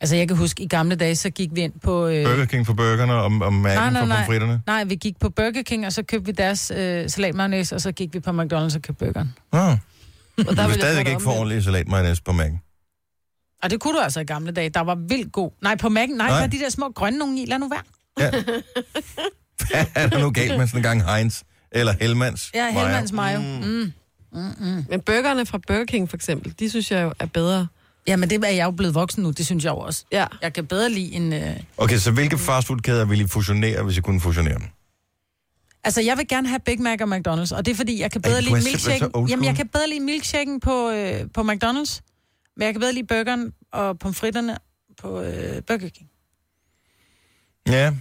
Speaker 2: Altså, jeg kan huske, i gamle dage, så gik vi ind på... Øh,
Speaker 1: Burger King for burgerne og, og
Speaker 2: Nej,
Speaker 1: Mac'en
Speaker 2: nej,
Speaker 1: for
Speaker 2: nej.
Speaker 1: pomfritterne?
Speaker 2: Nej, vi gik på Burger King, og så købte vi deres øh, salatmayonnaise, og så gik vi på McDonald's og købte burgeren.
Speaker 1: Nå,
Speaker 5: Og
Speaker 1: du
Speaker 5: vil
Speaker 1: kan
Speaker 5: jeg
Speaker 1: stadigvæk
Speaker 5: det
Speaker 1: ikke få
Speaker 5: omvendt.
Speaker 1: ordentlig salatmajonæs på Mac'en.
Speaker 2: Og det kunne du altså i gamle dage. Der var vildt god. Nej, på Mac'en. Nej,
Speaker 1: Nej.
Speaker 2: nej. de der små grønne nogen i. Lad nu være.
Speaker 1: Ja. Hvad er der nu galt med sådan en gang Heinz? Eller Hellmans?
Speaker 2: Ja, Helmands mayo. Mm.
Speaker 5: Men burgerne fra Burger King for eksempel, de synes jeg jo er bedre.
Speaker 2: Ja, men det er jeg jo blevet voksen nu. Det synes jeg jo også.
Speaker 5: Ja.
Speaker 2: Jeg kan bedre lide en... Øh...
Speaker 1: Okay, så hvilke fastfoodkæder ville I fusionere, hvis I kunne fusionere dem?
Speaker 2: Altså, jeg vil gerne have Big Mac og McDonald's, og det er fordi, jeg kan
Speaker 1: Ej,
Speaker 2: bedre
Speaker 1: du
Speaker 2: lide
Speaker 1: er simpelthen
Speaker 2: milkshaken.
Speaker 1: så
Speaker 2: Jamen,
Speaker 1: old school.
Speaker 2: jeg kan bedre lide milkshaken på, øh, på McDonald's, men jeg kan bedre lide burgeren og pomfritterne på øh, Burger King.
Speaker 1: Ja.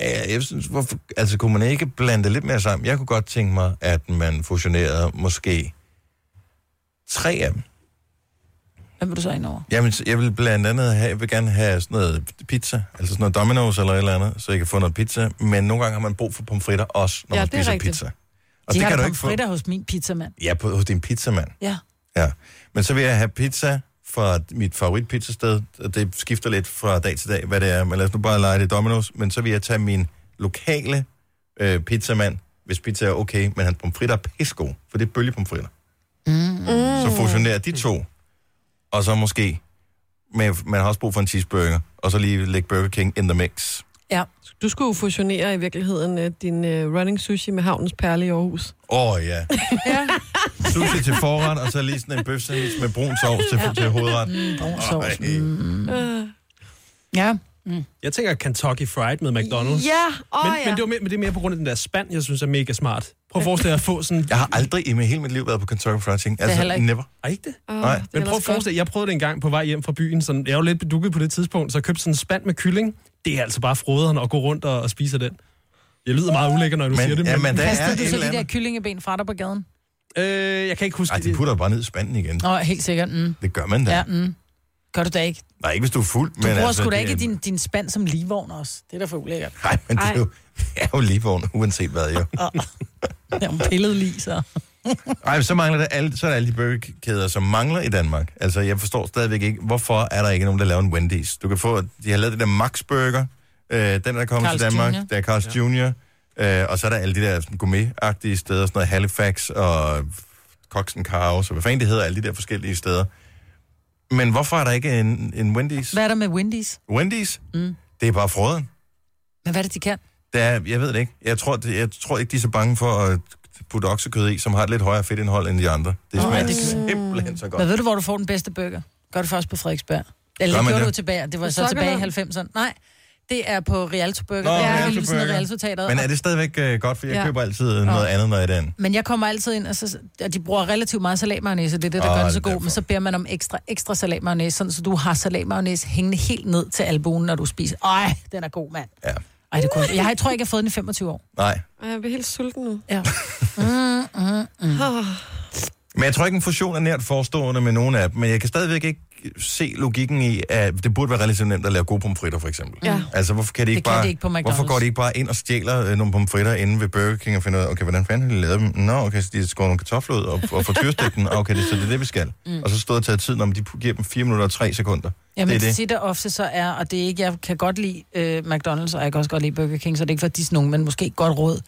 Speaker 1: Ja, Jeg synes, hvorfor, altså kunne man ikke blande det lidt mere sammen? Jeg kunne godt tænke mig, at man fusionerede måske tre af dem.
Speaker 2: Hvem vil du så ind over?
Speaker 1: Jamen, så jeg vil blandt andet have, jeg vil gerne have sådan noget pizza, altså sådan noget Domino's eller et eller andet, så jeg kan få noget pizza, men nogle gange har man brug for pomfritter også, når
Speaker 5: Ja,
Speaker 1: ja, man
Speaker 5: det er
Speaker 1: spiser
Speaker 5: rigtigt.
Speaker 1: pizza.
Speaker 2: Og
Speaker 1: Og
Speaker 2: de
Speaker 1: det
Speaker 2: har
Speaker 1: kan du ikke få.
Speaker 2: pomfritter hos min pizzamand.
Speaker 1: Ja, på, hos din pizzamand.
Speaker 2: Ja.
Speaker 1: Ja. Men så vil jeg have pizza fra mit favoritpizzasted, og det skifter lidt fra dag til dag, hvad det er, men lad os nu bare lege det Domino's, men så vil jeg tage min lokale øh, pizzamand, hvis pizza er okay, men hans pomfritter er pissegod, for det er bølgepomfritter. Mm. Så fusionerer de to, og så måske, men man har også brug for en cheeseburger, og så lige lægge Burger King in the mix.
Speaker 2: Ja.
Speaker 5: Du skulle jo fusionere i virkeligheden øh, din øh, running sushi med Havnens Perle i Aarhus.
Speaker 1: Åh oh, ja.
Speaker 2: Ja.
Speaker 1: Sushi til forret, og så lige sådan en bøf sandwich med brun sovs til, ja. til hovedret. Mm,
Speaker 2: brun sovs,
Speaker 1: Mm.
Speaker 5: Øh.
Speaker 2: Øh. Ja.
Speaker 8: Jeg tænker Kentucky Fried med McDonald's.
Speaker 5: Ja, åh
Speaker 8: men,
Speaker 5: oh, ja.
Speaker 8: men, det var mere, men det er mere på grund af den der spand, jeg synes er mega smart. Prøv at forestille dig at få sådan...
Speaker 1: Jeg har aldrig i med hele mit liv været på Kentucky Fried Chicken. Altså,
Speaker 2: heller ikke.
Speaker 1: never.
Speaker 8: Ej, ikke det?
Speaker 5: Åh,
Speaker 1: Nej,
Speaker 5: det er
Speaker 8: Men prøv at
Speaker 5: ellers godt.
Speaker 8: forestille dig, jeg prøvede det en gang på vej hjem fra byen. Sådan, jeg var lidt bedukket på det tidspunkt, så jeg købte sådan en spand med kylling. Det er altså bare froderen at gå rundt og, og spise af den. Jeg lyder meget ulækker, når du
Speaker 1: Men,
Speaker 8: siger det, men,
Speaker 1: ja, men der er
Speaker 2: Kastede
Speaker 1: et
Speaker 2: du så
Speaker 1: eller
Speaker 2: de der
Speaker 1: andet. Mm.
Speaker 2: kyllingeben fra dig på gaden?
Speaker 8: øh, jeg kan ikke huske
Speaker 1: Ej, de
Speaker 8: det.
Speaker 1: putter jo bare ned i spanden igen.
Speaker 2: Nå, helt sikkert. Mm.
Speaker 1: Det gør man da.
Speaker 2: Ja,
Speaker 1: Ja.
Speaker 2: mm. Gør du da ikke? Du
Speaker 1: Nej, ikke hvis du er fuld. Du
Speaker 2: bruger
Speaker 1: altså,
Speaker 2: sgu da
Speaker 1: det-
Speaker 2: ikke din, din spand som ligevogn også. Det er da for ulækkert.
Speaker 1: Nej, men det er
Speaker 5: Ej.
Speaker 1: jo, det er jo ligevogn, uanset hvad jo.
Speaker 2: Det er jo en pillet lige, så.
Speaker 1: Ej, men så mangler det alle, så er der alle de burgerkæder, som mangler i Danmark. Altså, jeg forstår stadigvæk ikke, hvorfor er der ikke nogen, der laver en Wendy's? Du kan få, de har lavet det der Max Burger, øh, den der er kommet til
Speaker 2: Carl's
Speaker 1: Danmark,
Speaker 2: Jr.
Speaker 1: der er Carl's ja. Jr., øh, og så er der alle de der sådan, gourmet-agtige steder, sådan noget Halifax og Cox Cow, så hvad fanden det hedder, alle de der forskellige steder. Men hvorfor er der ikke en, en Wendy's?
Speaker 2: Hvad er der med Wendy's?
Speaker 1: Wendy's? Mm. Det er bare froden.
Speaker 2: Men hvad er det, de kan?
Speaker 1: Der er, jeg ved det ikke. Jeg tror, det, jeg tror ikke, de er så bange for at putte oksekød i, som har et lidt højere fedtindhold end de andre. Det smager oh,
Speaker 2: det
Speaker 1: det
Speaker 2: kan-
Speaker 1: simpelthen så godt.
Speaker 2: Men ved du, hvor du får den bedste burger? Gør det først på Frederiksberg. Eller
Speaker 1: Gør
Speaker 2: det
Speaker 1: man
Speaker 2: gjorde
Speaker 1: det?
Speaker 2: du tilbage. Det var
Speaker 5: På
Speaker 2: så tilbage i
Speaker 5: Sokkerland?
Speaker 2: 90'erne. Nej, det er på Rialto Burger.
Speaker 1: Nå,
Speaker 2: Nå, det er
Speaker 1: Rialto
Speaker 2: hele sådan
Speaker 1: Burger.
Speaker 2: Rialto-teateret.
Speaker 1: Men er det stadigvæk øh, godt, for jeg
Speaker 5: Ja.
Speaker 1: ja. køber altid øh, noget andet, når jeg er derinde?
Speaker 2: Men jeg kommer altid ind, og, så, og de bruger relativt meget salatmayonnaise, og det er det, der gør
Speaker 1: Ah, det
Speaker 2: den
Speaker 1: er
Speaker 2: så god. Men
Speaker 1: derfor.
Speaker 2: så beder man om ekstra, ekstra salatmayonnaise, sådan så du har salatmayonnaise hængende helt ned til albuen, når du spiser. Ej, den er god, mand.
Speaker 1: Ja.
Speaker 2: Ej, det kunne, jeg, har- jeg tror ikke, jeg har fået den i 25 år. Mm,
Speaker 1: Nej.
Speaker 5: Ej, Jeg bliver helt sulten nu.
Speaker 2: Ja.
Speaker 1: Men jeg tror ikke, en fusion er nært forestående med nogen af dem, men jeg kan stadigvæk ikke se logikken i, at det burde være relativt nemt at lave gode pomfritter, for eksempel.
Speaker 5: Ja.
Speaker 1: Altså, hvorfor kan de ikke
Speaker 2: kan
Speaker 1: bare,
Speaker 2: de ikke på McDonald's.
Speaker 1: Hvorfor går de ikke bare ind og stjæler øh, nogle pomfritter inde ved Burger King og finder ud af, okay, hvordan fanden har de lavet dem? Nå, okay, så de skår nogle kartofler ud og, og får tyrstegt den. Okay, det, så det er det, vi skal. Mm. Og så stod og taget tiden om, de giver dem 4 minutter og 3 sekunder.
Speaker 2: Jamen,
Speaker 1: det er det.
Speaker 2: tit og ofte så er, og det er ikke, jeg kan godt lide øh, McDonald's, og jeg kan også godt lide Burger King, så det er ikke for, at de er sådan nogen, men måske et godt råd.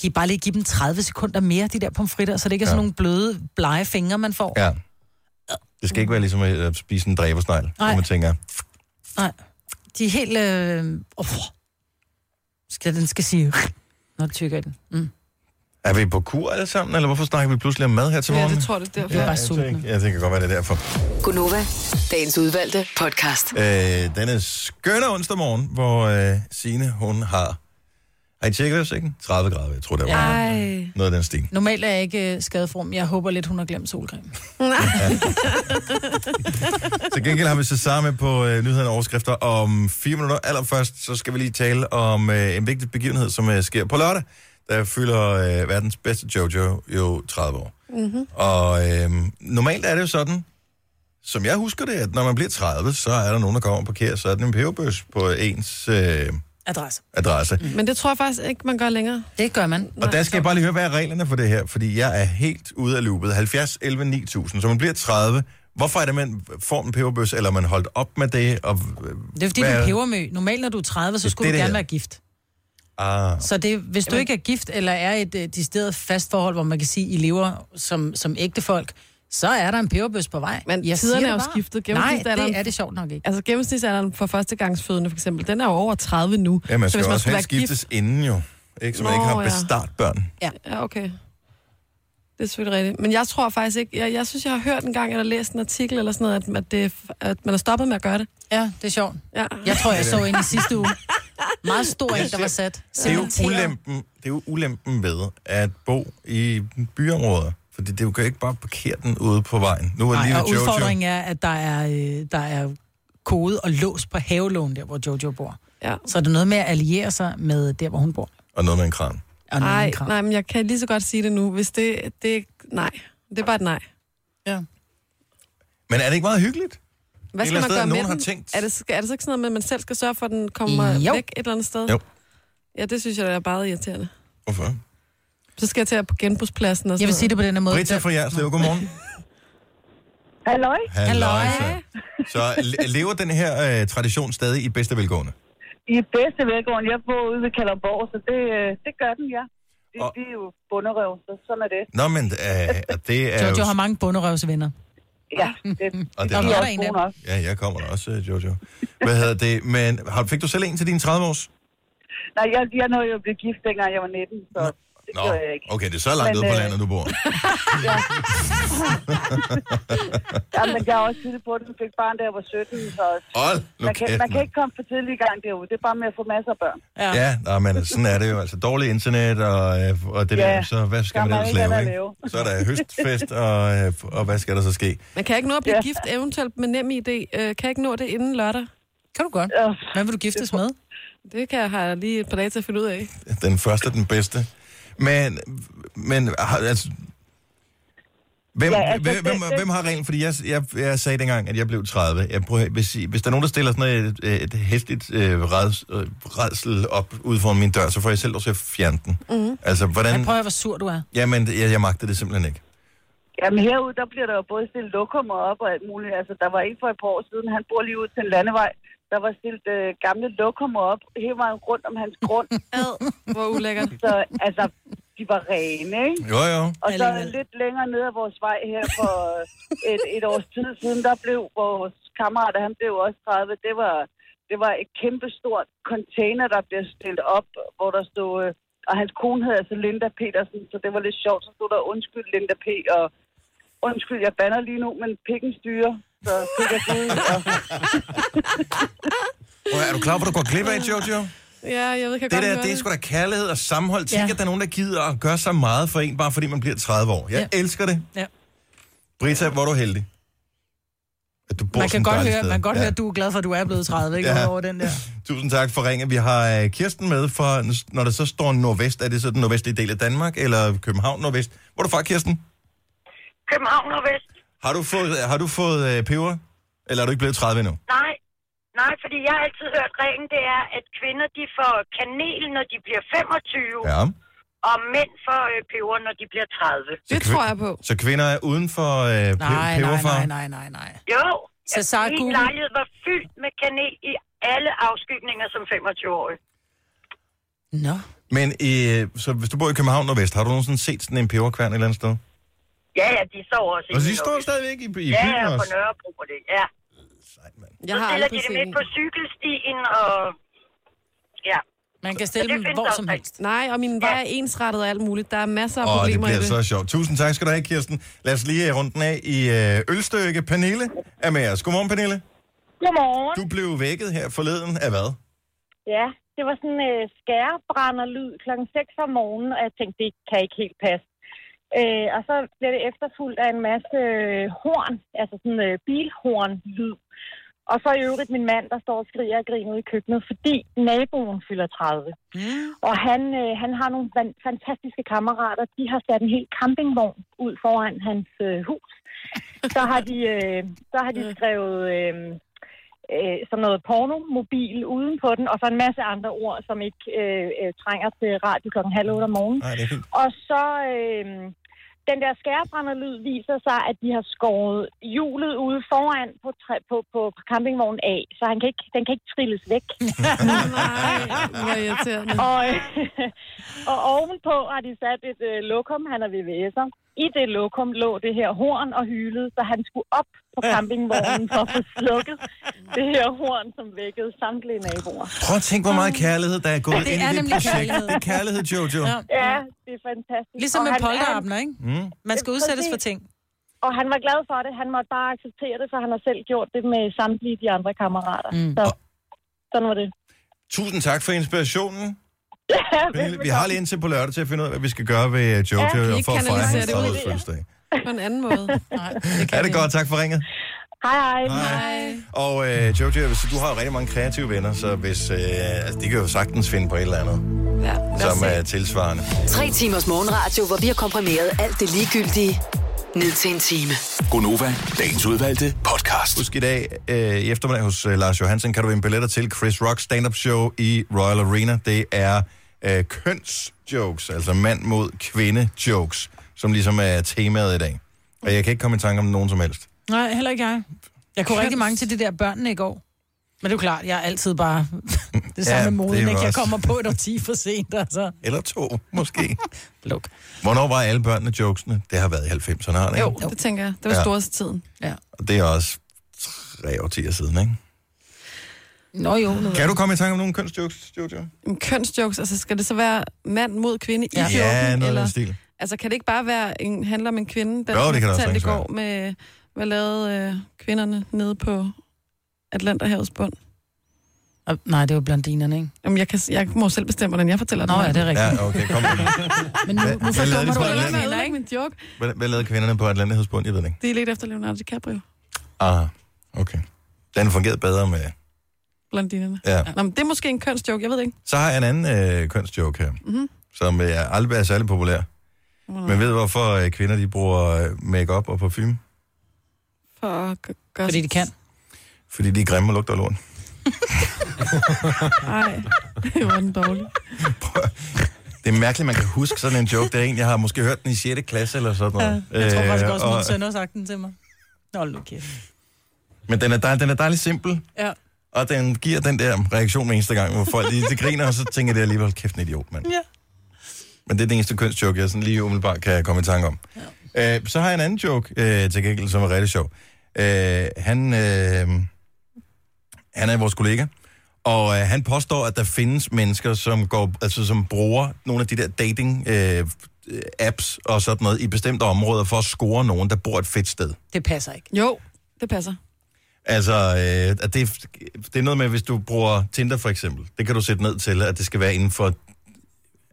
Speaker 2: Giv bare lige give dem 30 sekunder mere, de der pomfritter, så det ikke er sådan
Speaker 1: Ja.
Speaker 2: nogle bløde, blege fingre, man får. Ja.
Speaker 1: Ja. Det skal ikke være ligesom at øh, spise en dræbersnegl, hvor
Speaker 2: Nej.
Speaker 1: man tænker,
Speaker 2: Nej. De er helt... Øh, oh, skal, den skal sige... Når du tykker i den. Mm.
Speaker 1: er vi på kur alle sammen, eller hvorfor snakker vi pludselig om mad her til
Speaker 5: Ja,
Speaker 1: morgen?
Speaker 5: det tror jeg, det er derfor.
Speaker 2: Ja.
Speaker 5: Ja.
Speaker 2: bare
Speaker 1: jeg
Speaker 2: sultne.
Speaker 1: tænker, jeg tænker godt, hvad det er derfor.
Speaker 6: Gunova, dagens udvalgte podcast.
Speaker 1: Øh, denne skønne onsdag morgen, hvor øh, Signe, hun har... Har I tjekket udsigten? 30 grader, jeg tror, det var
Speaker 5: Ej.
Speaker 1: noget af den stil.
Speaker 2: Normalt er jeg ikke øh, skadefrum. Jeg håber lidt, hun har glemt solcreme.
Speaker 1: Til gengæld har vi Cesar med på øh, nyhederne og overskrifter om fire minutter. Allerførst, så skal vi lige tale om øh, en vigtig begivenhed, som øh, sker på lørdag. Der fylder øh, verdens bedste Jojo jo 30 år. Mm-hmm. Og øh, normalt er det jo sådan, som jeg husker det, at når man bliver 30, så er der nogen, der kommer og parkerer sådan en peberbøs på ens øh,
Speaker 2: Adresse.
Speaker 1: adresse.
Speaker 5: Men det tror jeg faktisk ikke, man gør længere.
Speaker 2: Det gør man.
Speaker 1: Og der skal jeg bare lige høre, hvad er reglerne for det her? Fordi jeg er helt ude af loopet. 70, 11, 9000. Så man bliver 30. Hvorfor er det, man får en peberbøs, eller er man holdt op med det? Og, øh,
Speaker 2: Det er fordi,
Speaker 1: Hvad
Speaker 2: du
Speaker 1: er-
Speaker 2: er pebermø. Normalt, når du er 30, så
Speaker 1: Det er
Speaker 2: skulle
Speaker 1: det,
Speaker 2: du
Speaker 1: det
Speaker 2: gerne
Speaker 1: hedder.
Speaker 2: være gift.
Speaker 1: ah,
Speaker 2: Så det, hvis du ikke er gift, eller er i et øh, decideret fast forhold, hvor man kan sige, I lever som, som ægte folk, så er der en peberbøs på vej.
Speaker 5: Men
Speaker 2: Jeg
Speaker 5: tiderne
Speaker 2: siger
Speaker 5: er jo
Speaker 2: det bare.
Speaker 5: skiftet.
Speaker 2: Nej,
Speaker 5: Gennemsnitsalderen-
Speaker 2: det er det sjovt nok ikke.
Speaker 5: Altså gennemsnitsalderen for førstegangsfødende for eksempel, den er jo over 30 nu.
Speaker 1: ja, man skal jo også
Speaker 5: skulle
Speaker 1: helst skiftes inden jo. Ikke, så man
Speaker 5: Nå,
Speaker 1: ikke har
Speaker 5: ja.
Speaker 1: bestartbørn.
Speaker 5: Ja, okay. Det er selvfølgelig rigtigt. Men jeg tror faktisk ikke... Jeg, jeg synes, jeg har hørt en gang, eller læst en artikel eller sådan noget, at, at, det, at man er stoppet med at gøre det.
Speaker 2: Ja, det er sjovt.
Speaker 5: Ja.
Speaker 2: Jeg tror, jeg så en i sidste uge. Meget stor en, der var sat.
Speaker 1: Det er, jo
Speaker 2: Cementeret.
Speaker 1: ulempen, det er jo ulempen ved at bo i byområder. Fordi det er jo kan ikke bare parkere den ude på vejen. Nu er lige
Speaker 2: Nej, og
Speaker 1: ved Jojo.
Speaker 2: udfordringen er, at der er, øh, der er kode og lås på havelån, der hvor Jojo bor.
Speaker 5: Ja.
Speaker 2: Så er det noget med at alliere sig med der, hvor hun bor.
Speaker 1: Og noget med en kran.
Speaker 2: Og noget med
Speaker 5: Nej,
Speaker 2: en kran.
Speaker 5: nej, men jeg kan lige så godt sige det nu. Hvis det, det nej. Det er bare et nej.
Speaker 2: Ja.
Speaker 1: Men er det ikke meget hyggeligt?
Speaker 5: Hvad
Speaker 1: Et
Speaker 5: skal man
Speaker 1: eller andet sted,
Speaker 5: gøre med
Speaker 1: nogen har
Speaker 5: den?
Speaker 1: tænkt.
Speaker 5: Er, det, skal- er det så ikke sådan noget med, at man selv skal sørge for, at den kommer
Speaker 2: Jo.
Speaker 5: væk et eller andet sted?
Speaker 1: Jo.
Speaker 5: Ja, det synes jeg, der er bare irriterende.
Speaker 1: Hvorfor?
Speaker 5: Så skal jeg til at på genbrugspladsen og sådan
Speaker 2: Jeg vil sige det på denne måde.
Speaker 1: Britta fra Jerslev, godmorgen.
Speaker 10: Halløj.
Speaker 1: Halløj. altså. Så le- lever den her øh, tradition stadig i bedste velgående?
Speaker 10: I bedste velgående. Jeg bor ude ved Kalderborg, så det, øh, det gør den, ja. De,
Speaker 1: Og-
Speaker 10: de er jo bunderøv, så sådan er det.
Speaker 1: Nå, men øh, og det er
Speaker 2: Jojo har
Speaker 1: jo...
Speaker 2: mange bunderøvsvenner.
Speaker 10: Ja, det,
Speaker 1: Og det
Speaker 2: Nå,
Speaker 1: er
Speaker 10: de
Speaker 2: der
Speaker 10: er
Speaker 1: nok,
Speaker 10: også
Speaker 2: en af
Speaker 10: gode
Speaker 2: dem.
Speaker 10: nok.
Speaker 1: ja, jeg kommer da også, øh, Jojo. Hvad hedder det? Men har, fik du selv en til din 30-års?
Speaker 10: Nej, jeg, jeg nåede jo at blive gift, dengang jeg var 19, så det
Speaker 1: Nå,
Speaker 10: gjorde jeg ikke.
Speaker 1: okay, det er så langt
Speaker 10: Men,
Speaker 1: ude på
Speaker 10: øh,
Speaker 1: landet, du bor.
Speaker 10: Ja, men jeg har også tidligt på den, fik barn, da jeg var 17, så
Speaker 1: Hold nu
Speaker 10: man kan,
Speaker 1: kæft,
Speaker 10: man kan
Speaker 1: mand.
Speaker 10: ikke komme for tidlig i gang derude. Det er bare med at få masser af børn.
Speaker 1: Ja, nej, men sådan er det jo. Altså dårligt internet og, øh, og det
Speaker 10: Ja,
Speaker 1: der, så hvad skal
Speaker 10: der er
Speaker 1: man ellers
Speaker 10: meget
Speaker 1: lave,
Speaker 10: andet at
Speaker 1: ikke?
Speaker 10: lave.
Speaker 1: Så er der høstfest, og, øh, og hvad skal der så ske?
Speaker 5: Man kan ikke nå at blive
Speaker 10: Ja.
Speaker 5: gift eventuelt med nem idé. Øh, kan jeg ikke nå det inden lørdag?
Speaker 2: Kan du godt.
Speaker 10: Øh,
Speaker 2: Hvad vil du giftes med?
Speaker 5: Det kan jeg have lige et par dage til at finde ud af.
Speaker 1: Den første er den bedste. Men, men har- altså, Hvem, ja,
Speaker 10: Ja,
Speaker 1: altså,
Speaker 10: altså,
Speaker 1: hvem,
Speaker 10: det-
Speaker 1: hvem,
Speaker 10: det-
Speaker 1: hvem har reglen? Fordi jeg, jeg, jeg sagde dengang, at jeg blev 30. Jeg prøver, hvis, I- hvis der er nogen, der stiller sådan et, et, et hæftigt øh, reds, øh, redsel op ud foran min dør, så får jeg selv lov til at fjerne den. Mm. Altså,
Speaker 2: Jeg
Speaker 1: hvordan...
Speaker 2: prøver, hvor sur du er.
Speaker 1: Jamen, jeg, jeg magtede det simpelthen ikke.
Speaker 10: Jamen herude, der bliver der jo både stillet lokummer op og alt muligt. Altså, der var en for et par år siden, han bor lige ud til en landevej. Der var stillet øh, gamle lokummer op hele vejen rundt om hans grund.
Speaker 5: Ad, hvor ulækkert.
Speaker 10: Så altså, de var rene, ikke?
Speaker 1: Jo, jo.
Speaker 10: Og så
Speaker 2: Alligevel.
Speaker 10: lidt længere ned ad vores vej her for øh, et, et års tid siden, der blev vores kammerat, og han blev også 30, det var, det var et kæmpe stort container, der blev stillet op, hvor der stod, øh, og hans kone hed altså Linda Petersen, så det var lidt sjovt, så stod der undskyld Linda P, og undskyld, jeg banner lige nu, men pikken styrer, så fik jeg ud, og
Speaker 1: Prøv, er du klar, hvor du går glip af, Jojo?
Speaker 5: Ja, jeg ved, kan
Speaker 1: Det
Speaker 5: godt
Speaker 1: der,
Speaker 5: høre
Speaker 1: det er sgu da kærlighed og sammenhold. Tænk,
Speaker 2: Ja.
Speaker 1: at der er nogen, der gider at gøre så meget for en, bare fordi man bliver 30 år. Jeg ja.
Speaker 2: Ja.
Speaker 1: elsker det.
Speaker 2: Ja.
Speaker 1: Brita, hvor er du heldig. At du bor
Speaker 2: Man
Speaker 1: sådan
Speaker 2: kan
Speaker 1: et
Speaker 2: godt
Speaker 1: dejligt
Speaker 2: høre,
Speaker 1: sted.
Speaker 2: man kan godt
Speaker 1: Ja.
Speaker 2: høre, at du er glad for, at du er blevet 30, ikke?
Speaker 1: Ja.
Speaker 2: Over den der.
Speaker 1: Tusind tak for ringen. Vi har øh, Kirsten med for, når der så står nordvest, er det så den nordvestlige del af Danmark, eller København nordvest? Hvor er du fra, Kirsten?
Speaker 10: København og Vest.
Speaker 1: Har du fået, har du fået øh, peber? Eller er du ikke blevet 30 endnu?
Speaker 10: Nej, nej, fordi jeg har altid hørt reglen, det er, at kvinder de får kanel, når de bliver 25,
Speaker 1: Ja.
Speaker 10: og mænd får øh, peber, når de bliver 30.
Speaker 5: Det tror jeg på.
Speaker 1: Så kvinder er uden for øh,
Speaker 2: Nej,
Speaker 1: peberfar?
Speaker 2: nej, nej, nej, nej, nej.
Speaker 10: Jo,
Speaker 2: Så
Speaker 10: at
Speaker 2: sagde
Speaker 10: min
Speaker 2: Google-
Speaker 10: lejlighed var fyldt med kanel i alle afskygninger som 25-årig.
Speaker 2: Nå.
Speaker 1: Men øh, så hvis du bor i København Nordvest, har du nogensinde set sådan en peberkværn et eller andet sted?
Speaker 10: Ja, ja, de står også
Speaker 1: Og
Speaker 10: inde i
Speaker 1: de står
Speaker 10: Nørrebro.
Speaker 1: stadigvæk i, i byen
Speaker 10: Ja, ja, på
Speaker 1: også.
Speaker 10: Nørrebro og det, ja.
Speaker 1: Sejt, mand.
Speaker 5: Jeg
Speaker 10: Så
Speaker 5: har
Speaker 10: stiller
Speaker 5: aldrig
Speaker 10: de det
Speaker 5: set
Speaker 10: midt
Speaker 5: en.
Speaker 10: på cykelstien, og ja.
Speaker 2: Man kan stille
Speaker 10: Det
Speaker 2: dem
Speaker 10: findes
Speaker 2: hvor
Speaker 10: også
Speaker 2: som
Speaker 10: ikke.
Speaker 2: helst.
Speaker 5: Nej, og min vej er ensrettet og alt muligt. Der er masser af
Speaker 1: Åh, det
Speaker 5: problemer i
Speaker 1: bliver
Speaker 5: det.
Speaker 1: så sjovt. Tusind tak skal du have, Kirsten. Lad os lige øh, runde den af i øh, ølstykke. Pernille er med os. Godmorgen, Pernille.
Speaker 10: Godmorgen.
Speaker 1: Du blev vækket her forleden af hvad?
Speaker 10: Ja, det var sådan en øh, skærebrænderlyd kl. 6 om morgenen, og jeg tænkte, det kan ikke helt passe. Øh, og så blev det efterfulgt af en masse øh, horn, altså sådan øh, bilhorn-lyd. Og så i øvrigt min mand, der står og skriger og griner ude i køkkenet, fordi naboen fylder 30. Mm. Og han, øh, han har nogle van- fantastiske kammerater. De har sat en hel campingvogn ud foran hans øh, hus. Så har de, øh, så har de skrevet... Øh, øh, sådan noget pornomobil uden på den, og så en masse andre ord, som ikke øh, øh, trænger til radio klokken halv otte om morgenen.
Speaker 1: Nej, det er fint.
Speaker 10: Og så øh, den der skærebrænderlyd viser sig, at de har skåret hjulet ude foran på, træ, på, på campingvognen af, så han kan ikke, den kan ikke trilles væk.
Speaker 5: Nej, hvor irriterende.
Speaker 10: og, øh, og ovenpå har de sat et øh, lokum, han er VVS'er. I det lokum lå det her horn og hylede, så han skulle op på campingvognen for at få slukket det her horn, som vækkede samtlige naboer.
Speaker 1: Prøv at tænke, hvor meget kærlighed, der er gået
Speaker 2: det
Speaker 1: ind
Speaker 2: er
Speaker 1: i det
Speaker 2: nemlig
Speaker 1: projekt.
Speaker 2: kærlighed.
Speaker 1: Det er kærlighed, Jojo.
Speaker 2: Ja.
Speaker 10: Ja, det er fantastisk.
Speaker 2: Ligesom
Speaker 10: Og
Speaker 2: med
Speaker 10: han-
Speaker 2: polterabner, ikke?
Speaker 1: Mm.
Speaker 2: Man skal udsættes for
Speaker 10: Præcis.
Speaker 2: ting.
Speaker 10: han- Og han var glad for det. Han måtte bare acceptere det, for han har selv gjort det med samtlige de andre kammerater.
Speaker 2: Mm.
Speaker 10: Så sådan var det.
Speaker 1: Tusind tak for inspirationen.
Speaker 10: Ja,
Speaker 1: Pernille, vi har lige indtil på lørdag til at finde ud af, hvad vi skal gøre ved øh, Jojo
Speaker 5: Ja, vi
Speaker 1: ja, for at fejre
Speaker 5: kanaliserer
Speaker 1: hans
Speaker 5: det ud.
Speaker 1: 30 fødselsdag.
Speaker 5: På en anden måde. Nej,
Speaker 1: Det er det godt, tak for ringet.
Speaker 10: Hej,
Speaker 1: hej. Og øh, Jojo, hvis du har jo rigtig mange kreative venner, så hvis, øh, altså, de kan jo sagtens finde på et eller andet,
Speaker 5: Ja,
Speaker 1: som er tilsvarende.
Speaker 6: Tre timers morgenradio, hvor vi har komprimeret alt det ligegyldige ned til en time.
Speaker 1: Gonova, dagens udvalgte podcast. Husk i dag øh, i eftermiddag hos øh, Lars Johansen, kan du vinde billetter til Chris Rock stand-up show i Royal Arena. Det er øh, kønsjokes, altså mand mod kvinde jokes, som ligesom er temaet i dag. Og jeg kan ikke komme i tanke om nogen som helst.
Speaker 2: Nej, heller ikke jeg. Jeg kunne rigtig mange til det der børnene i går. Men det er jo klart, jeg er altid bare det samme
Speaker 1: Ja,
Speaker 2: ja,
Speaker 1: det er
Speaker 2: moden,
Speaker 1: jo
Speaker 2: ikke? Jeg
Speaker 1: også-
Speaker 2: kommer på et årti for sent, altså.
Speaker 1: Eller to, måske.
Speaker 2: Luk.
Speaker 1: Hvornår var alle børnene jokesene? Det har været i 90'erne, har det ikke?
Speaker 5: Jo, det tænker jeg. Det var
Speaker 1: Ja.
Speaker 5: ja. storest tiden.
Speaker 2: Ja.
Speaker 1: Og det er også tre årtier siden, ikke?
Speaker 2: Nå jo. Nu.
Speaker 1: Kan du komme i tanke om nogle kønsjokes, Jojo?
Speaker 5: Jamen, kønsjokes, altså skal det så være mand mod kvinde i
Speaker 1: Ja.
Speaker 5: kjolen?
Speaker 1: Ja, noget i den
Speaker 5: eller,
Speaker 1: stil.
Speaker 5: Altså kan det ikke bare være en handler om en kvinde, der
Speaker 1: Jo, det kan da
Speaker 5: fortalte i
Speaker 1: sagtens være.
Speaker 5: går med, hvad lavede øh, kvinderne nede på Atlanterhavets bund?
Speaker 2: Og, nej, det var blondinerne, ikke?
Speaker 5: Jamen, jeg, kan, jeg må selv bestemme, hvordan jeg fortæller
Speaker 2: Nå,
Speaker 5: den
Speaker 2: ja, det er rigtigt.
Speaker 1: Ja, okay, kom med det.
Speaker 2: Men nu,
Speaker 1: Hvad-
Speaker 2: nu
Speaker 1: hvad lavede de
Speaker 2: forstår
Speaker 1: på
Speaker 2: du,
Speaker 1: Atlanten?
Speaker 2: hvad
Speaker 5: Jeg
Speaker 2: jeg mener,
Speaker 5: ikke
Speaker 2: ikke?
Speaker 5: min joke.
Speaker 1: Hvad, hvad lavede kvinderne på Atlantighedsbund? Jeg ved det ikke.
Speaker 5: Det er lidt efter Leonardo DiCaprio,
Speaker 1: Ah, okay. Den fungerede bedre med...
Speaker 5: blondinerne.
Speaker 1: Ja.
Speaker 5: Nå, men det er måske en kønsjoke, jeg ved det ikke.
Speaker 1: Så har jeg en anden øh, kønsjoke her,
Speaker 5: Mhm.
Speaker 1: som øh, aldrig er særlig populær.
Speaker 2: Mm.
Speaker 1: Men ved du, hvorfor øh, kvinder de bruger øh, makeup og parfume?
Speaker 5: For at gø- gøre
Speaker 2: Fordi de kan.
Speaker 1: Fordi de er grimme og lugter af lort.
Speaker 5: Nej, det var den dårlige.
Speaker 1: Det er mærkeligt, man kan huske sådan en joke. Det er en, jeg har måske hørt den i 6. klasse eller sådan noget.
Speaker 2: Ja. Jeg tror faktisk også,
Speaker 1: Øh,
Speaker 2: at
Speaker 1: og-
Speaker 2: min søn har sagt den til mig. Nå, nu kæft.
Speaker 1: Men den er, dej, den er dejlig simpel,
Speaker 2: Ja.
Speaker 1: og den giver den der reaktion hver eneste gang, hvor folk lige, de griner, og så tænker de alligevel, kæft en idiot, mand.
Speaker 2: Ja.
Speaker 1: Men det er den eneste kønsjoke, jeg sådan lige umiddelbart kan komme i tanke om. Ja. Øh, så har jeg en anden joke øh, til gengæld, som er rigtig sjov. Øh, han, øh, han er vores kollega, og øh, han påstår, at der findes mennesker, som, går, altså, som bruger nogle af de der dating øh, apps og sådan noget i bestemte områder for at score nogen, der bor et fedt sted.
Speaker 2: Det passer ikke.
Speaker 5: Jo, det passer.
Speaker 1: Altså, øh, at det, det er noget med, hvis du bruger Tinder for eksempel, det kan du sætte ned til, at det skal være inden for,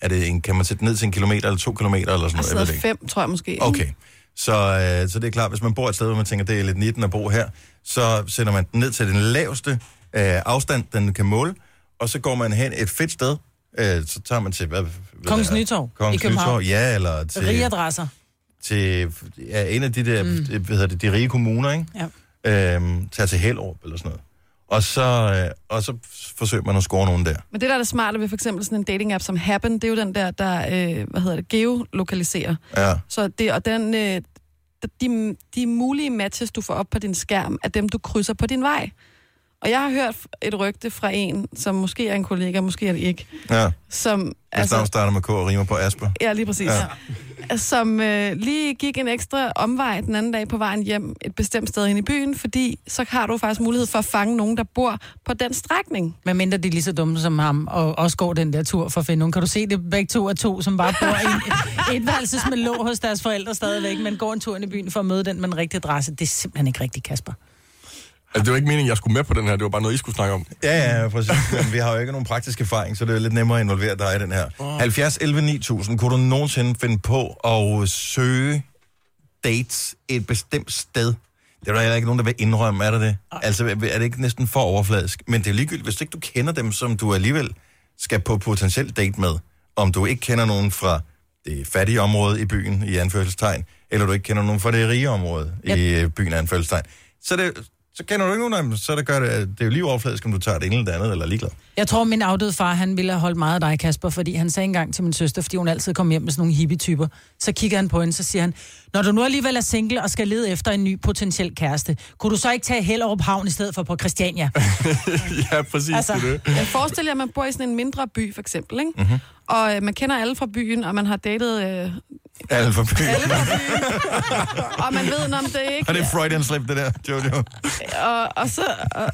Speaker 1: er det en, kan man sætte ned til en kilometer eller to kilometer eller sådan
Speaker 5: Jeg
Speaker 1: noget,
Speaker 2: Altså,
Speaker 1: jeg
Speaker 5: sidder
Speaker 1: ved det ikke.
Speaker 5: fem, tror jeg måske.
Speaker 1: Okay, så, øh, så det er klart, hvis man bor et sted, hvor man tænker, det er lidt 19 at bo her, så sætter man den ned til den laveste øh, afstand, den kan måle, og så går man hen et fedt sted, øh, så tager man til, hvad, ved
Speaker 2: Kongens
Speaker 1: jeg,
Speaker 2: Nytorv i
Speaker 1: Kongens
Speaker 2: København.
Speaker 1: Nytorv, ja, eller til,
Speaker 2: Rige adresser.
Speaker 1: til ja, en af de der, mm. hvad hedder det, de rige kommuner, ikke?
Speaker 2: Ja.
Speaker 1: øhm, tager til Hellerup eller sådan noget. Og så, øh, og så f- forsøger man at score nogen der.
Speaker 5: Men det, der er det smarte ved for eksempel sådan en dating-app som Happen, det er jo den der, der øh, hvad hedder det, geolokaliserer.
Speaker 1: Ja.
Speaker 5: Så det, og den, øh, de, de mulige matches, du får op på din skærm, er dem, du krydser på din vej. Og jeg har hørt et rygte fra en, som måske er en kollega, måske er det ikke,
Speaker 1: ja.
Speaker 5: som,
Speaker 1: Hvis altså, navn starter med K og rimer på Asper.
Speaker 5: ja, lige præcis,
Speaker 1: Ja.
Speaker 5: ja. som øh, lige gik en ekstra omvej den anden dag på vejen hjem et bestemt sted hen i byen, fordi så har du faktisk mulighed for at fange nogen, der bor på den strækning.
Speaker 2: Men mindre de er lige så dumme som ham, og også går den der tur for at finde nogen. Kan du se det begge to er to, som bare bor i en etværelses med lå hos deres forældre stadigvæk, men går en tur ind i byen for at møde den med en rigtig adresse. Det er simpelthen ikke rigtigt, Kasper.
Speaker 4: Altså, det var ikke meningen, jeg skulle med på den her. Det var bare noget, I skulle snakke om.
Speaker 1: Ja, ja, præcis. Men vi har jo ikke nogen praktisk erfaring, så det er jo lidt nemmere at involvere dig i den her. Oh. 70 11 9000, kunne du nogensinde finde på at søge dates et bestemt sted? Det er der heller ikke nogen, der vil indrømme, er der det? Altså, er det ikke næsten for overfladisk? Men det er ligegyldigt, hvis ikke du kender dem, som du alligevel skal på potentiel date med, om du ikke kender nogen fra det fattige område i byen, i anførselstegn, eller du ikke kender nogen fra det rige område yep. i øh, byen, i anførselstegn, så, er det, så kender du ikke nogen af dem, så det gør det, det er jo lige overfladisk, om du tager det ene eller det andet, eller er ligeglad.
Speaker 2: Jeg tror, min afdøde far, han ville have holdt meget af dig, Kasper, fordi han sagde engang til min søster, fordi hun altid kom hjem med sådan nogle hippie-typer. Så kigger han på hende, så siger han, når du nu alligevel er single og skal lede efter en ny potentiel kæreste, kunne du så ikke tage Hellerup Havn i stedet for på Christiania?
Speaker 4: ja, præcis. Altså,
Speaker 2: Altså,
Speaker 4: det. er det.
Speaker 5: Jeg forestiller jer, at man bor i sådan en mindre by, for eksempel, ikke? Mm-hmm. og øh, man kender alle fra byen, og man har datet øh,
Speaker 1: Alle for
Speaker 5: alle fra byen. og man ved, om det ikke...
Speaker 1: Og det er Freudian slip, det der, Jojo.
Speaker 5: Og, og så... Og,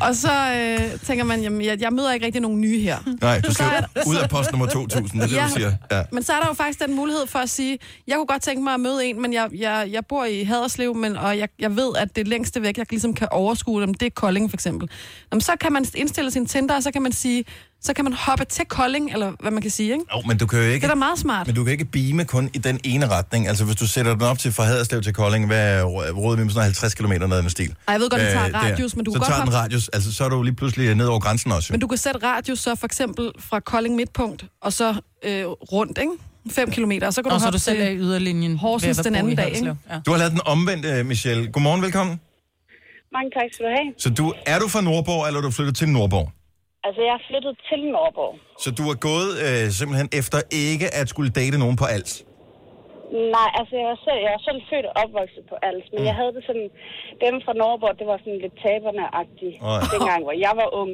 Speaker 5: Og så øh, tænker man, jamen, jeg, jeg møder ikke rigtig nogen nye her.
Speaker 1: Nej, du
Speaker 5: Så
Speaker 1: skal
Speaker 5: er der-
Speaker 1: ud af post nummer 2000, det er det, du siger. Ja.
Speaker 5: Men så er der jo faktisk den mulighed for at sige, jeg kunne godt tænke mig at møde en, men jeg, jeg, jeg bor i Haderslev, men, og jeg, jeg ved, at det længste væk, jeg ligesom kan overskue dem, det er Kolding for eksempel. Jamen, så kan man indstille sin Tinder, og så kan man sige, så kan man hoppe til Kolding, eller hvad man kan sige, ikke?
Speaker 1: Jo, men du kan jo ikke...
Speaker 5: Det er da meget smart.
Speaker 1: Men du kan ikke beame kun i den ene retning. Altså, hvis du sætter den op til fra Haderslev til Kolding, hvad er rå- råder vi med sådan 50 km ned ad den stil? Øh,
Speaker 5: Ej, jeg ved godt, den tager
Speaker 1: der.
Speaker 5: radius, men du
Speaker 1: så
Speaker 5: kan godt
Speaker 1: tager den
Speaker 5: hoppe-
Speaker 1: radius, altså så er du lige pludselig ned over grænsen også.
Speaker 5: Men du kan sætte radius så for eksempel fra Kolding Midtpunkt, og så øh, rundt, ikke? 5 kilometer, og så kan
Speaker 2: Og
Speaker 5: du
Speaker 2: så er
Speaker 5: hoppe
Speaker 2: du selv er i
Speaker 5: til
Speaker 2: yderlinjen.
Speaker 5: Horsens
Speaker 2: ved
Speaker 5: den
Speaker 2: at bo i
Speaker 5: anden dag,
Speaker 2: Haderslev.
Speaker 5: ikke?
Speaker 2: Ja.
Speaker 1: Du har lavet den omvendte, øh, Michelle. Godmorgen, velkommen.
Speaker 11: Mange tak skal du have.
Speaker 1: Så du, er du fra Nordborg, eller er du flyttet til Nordborg?
Speaker 11: Altså, jeg er flyttet til Norborg.
Speaker 1: Så du er gået øh, simpelthen efter ikke at skulle date nogen på alt.
Speaker 11: Nej, altså jeg var selv, jeg var selv født og opvokset på Als, men mm. jeg havde det sådan, dem fra Norborg, det var sådan lidt taberne-agtigt,
Speaker 1: Åh, ja.
Speaker 11: dengang, hvor jeg var ung.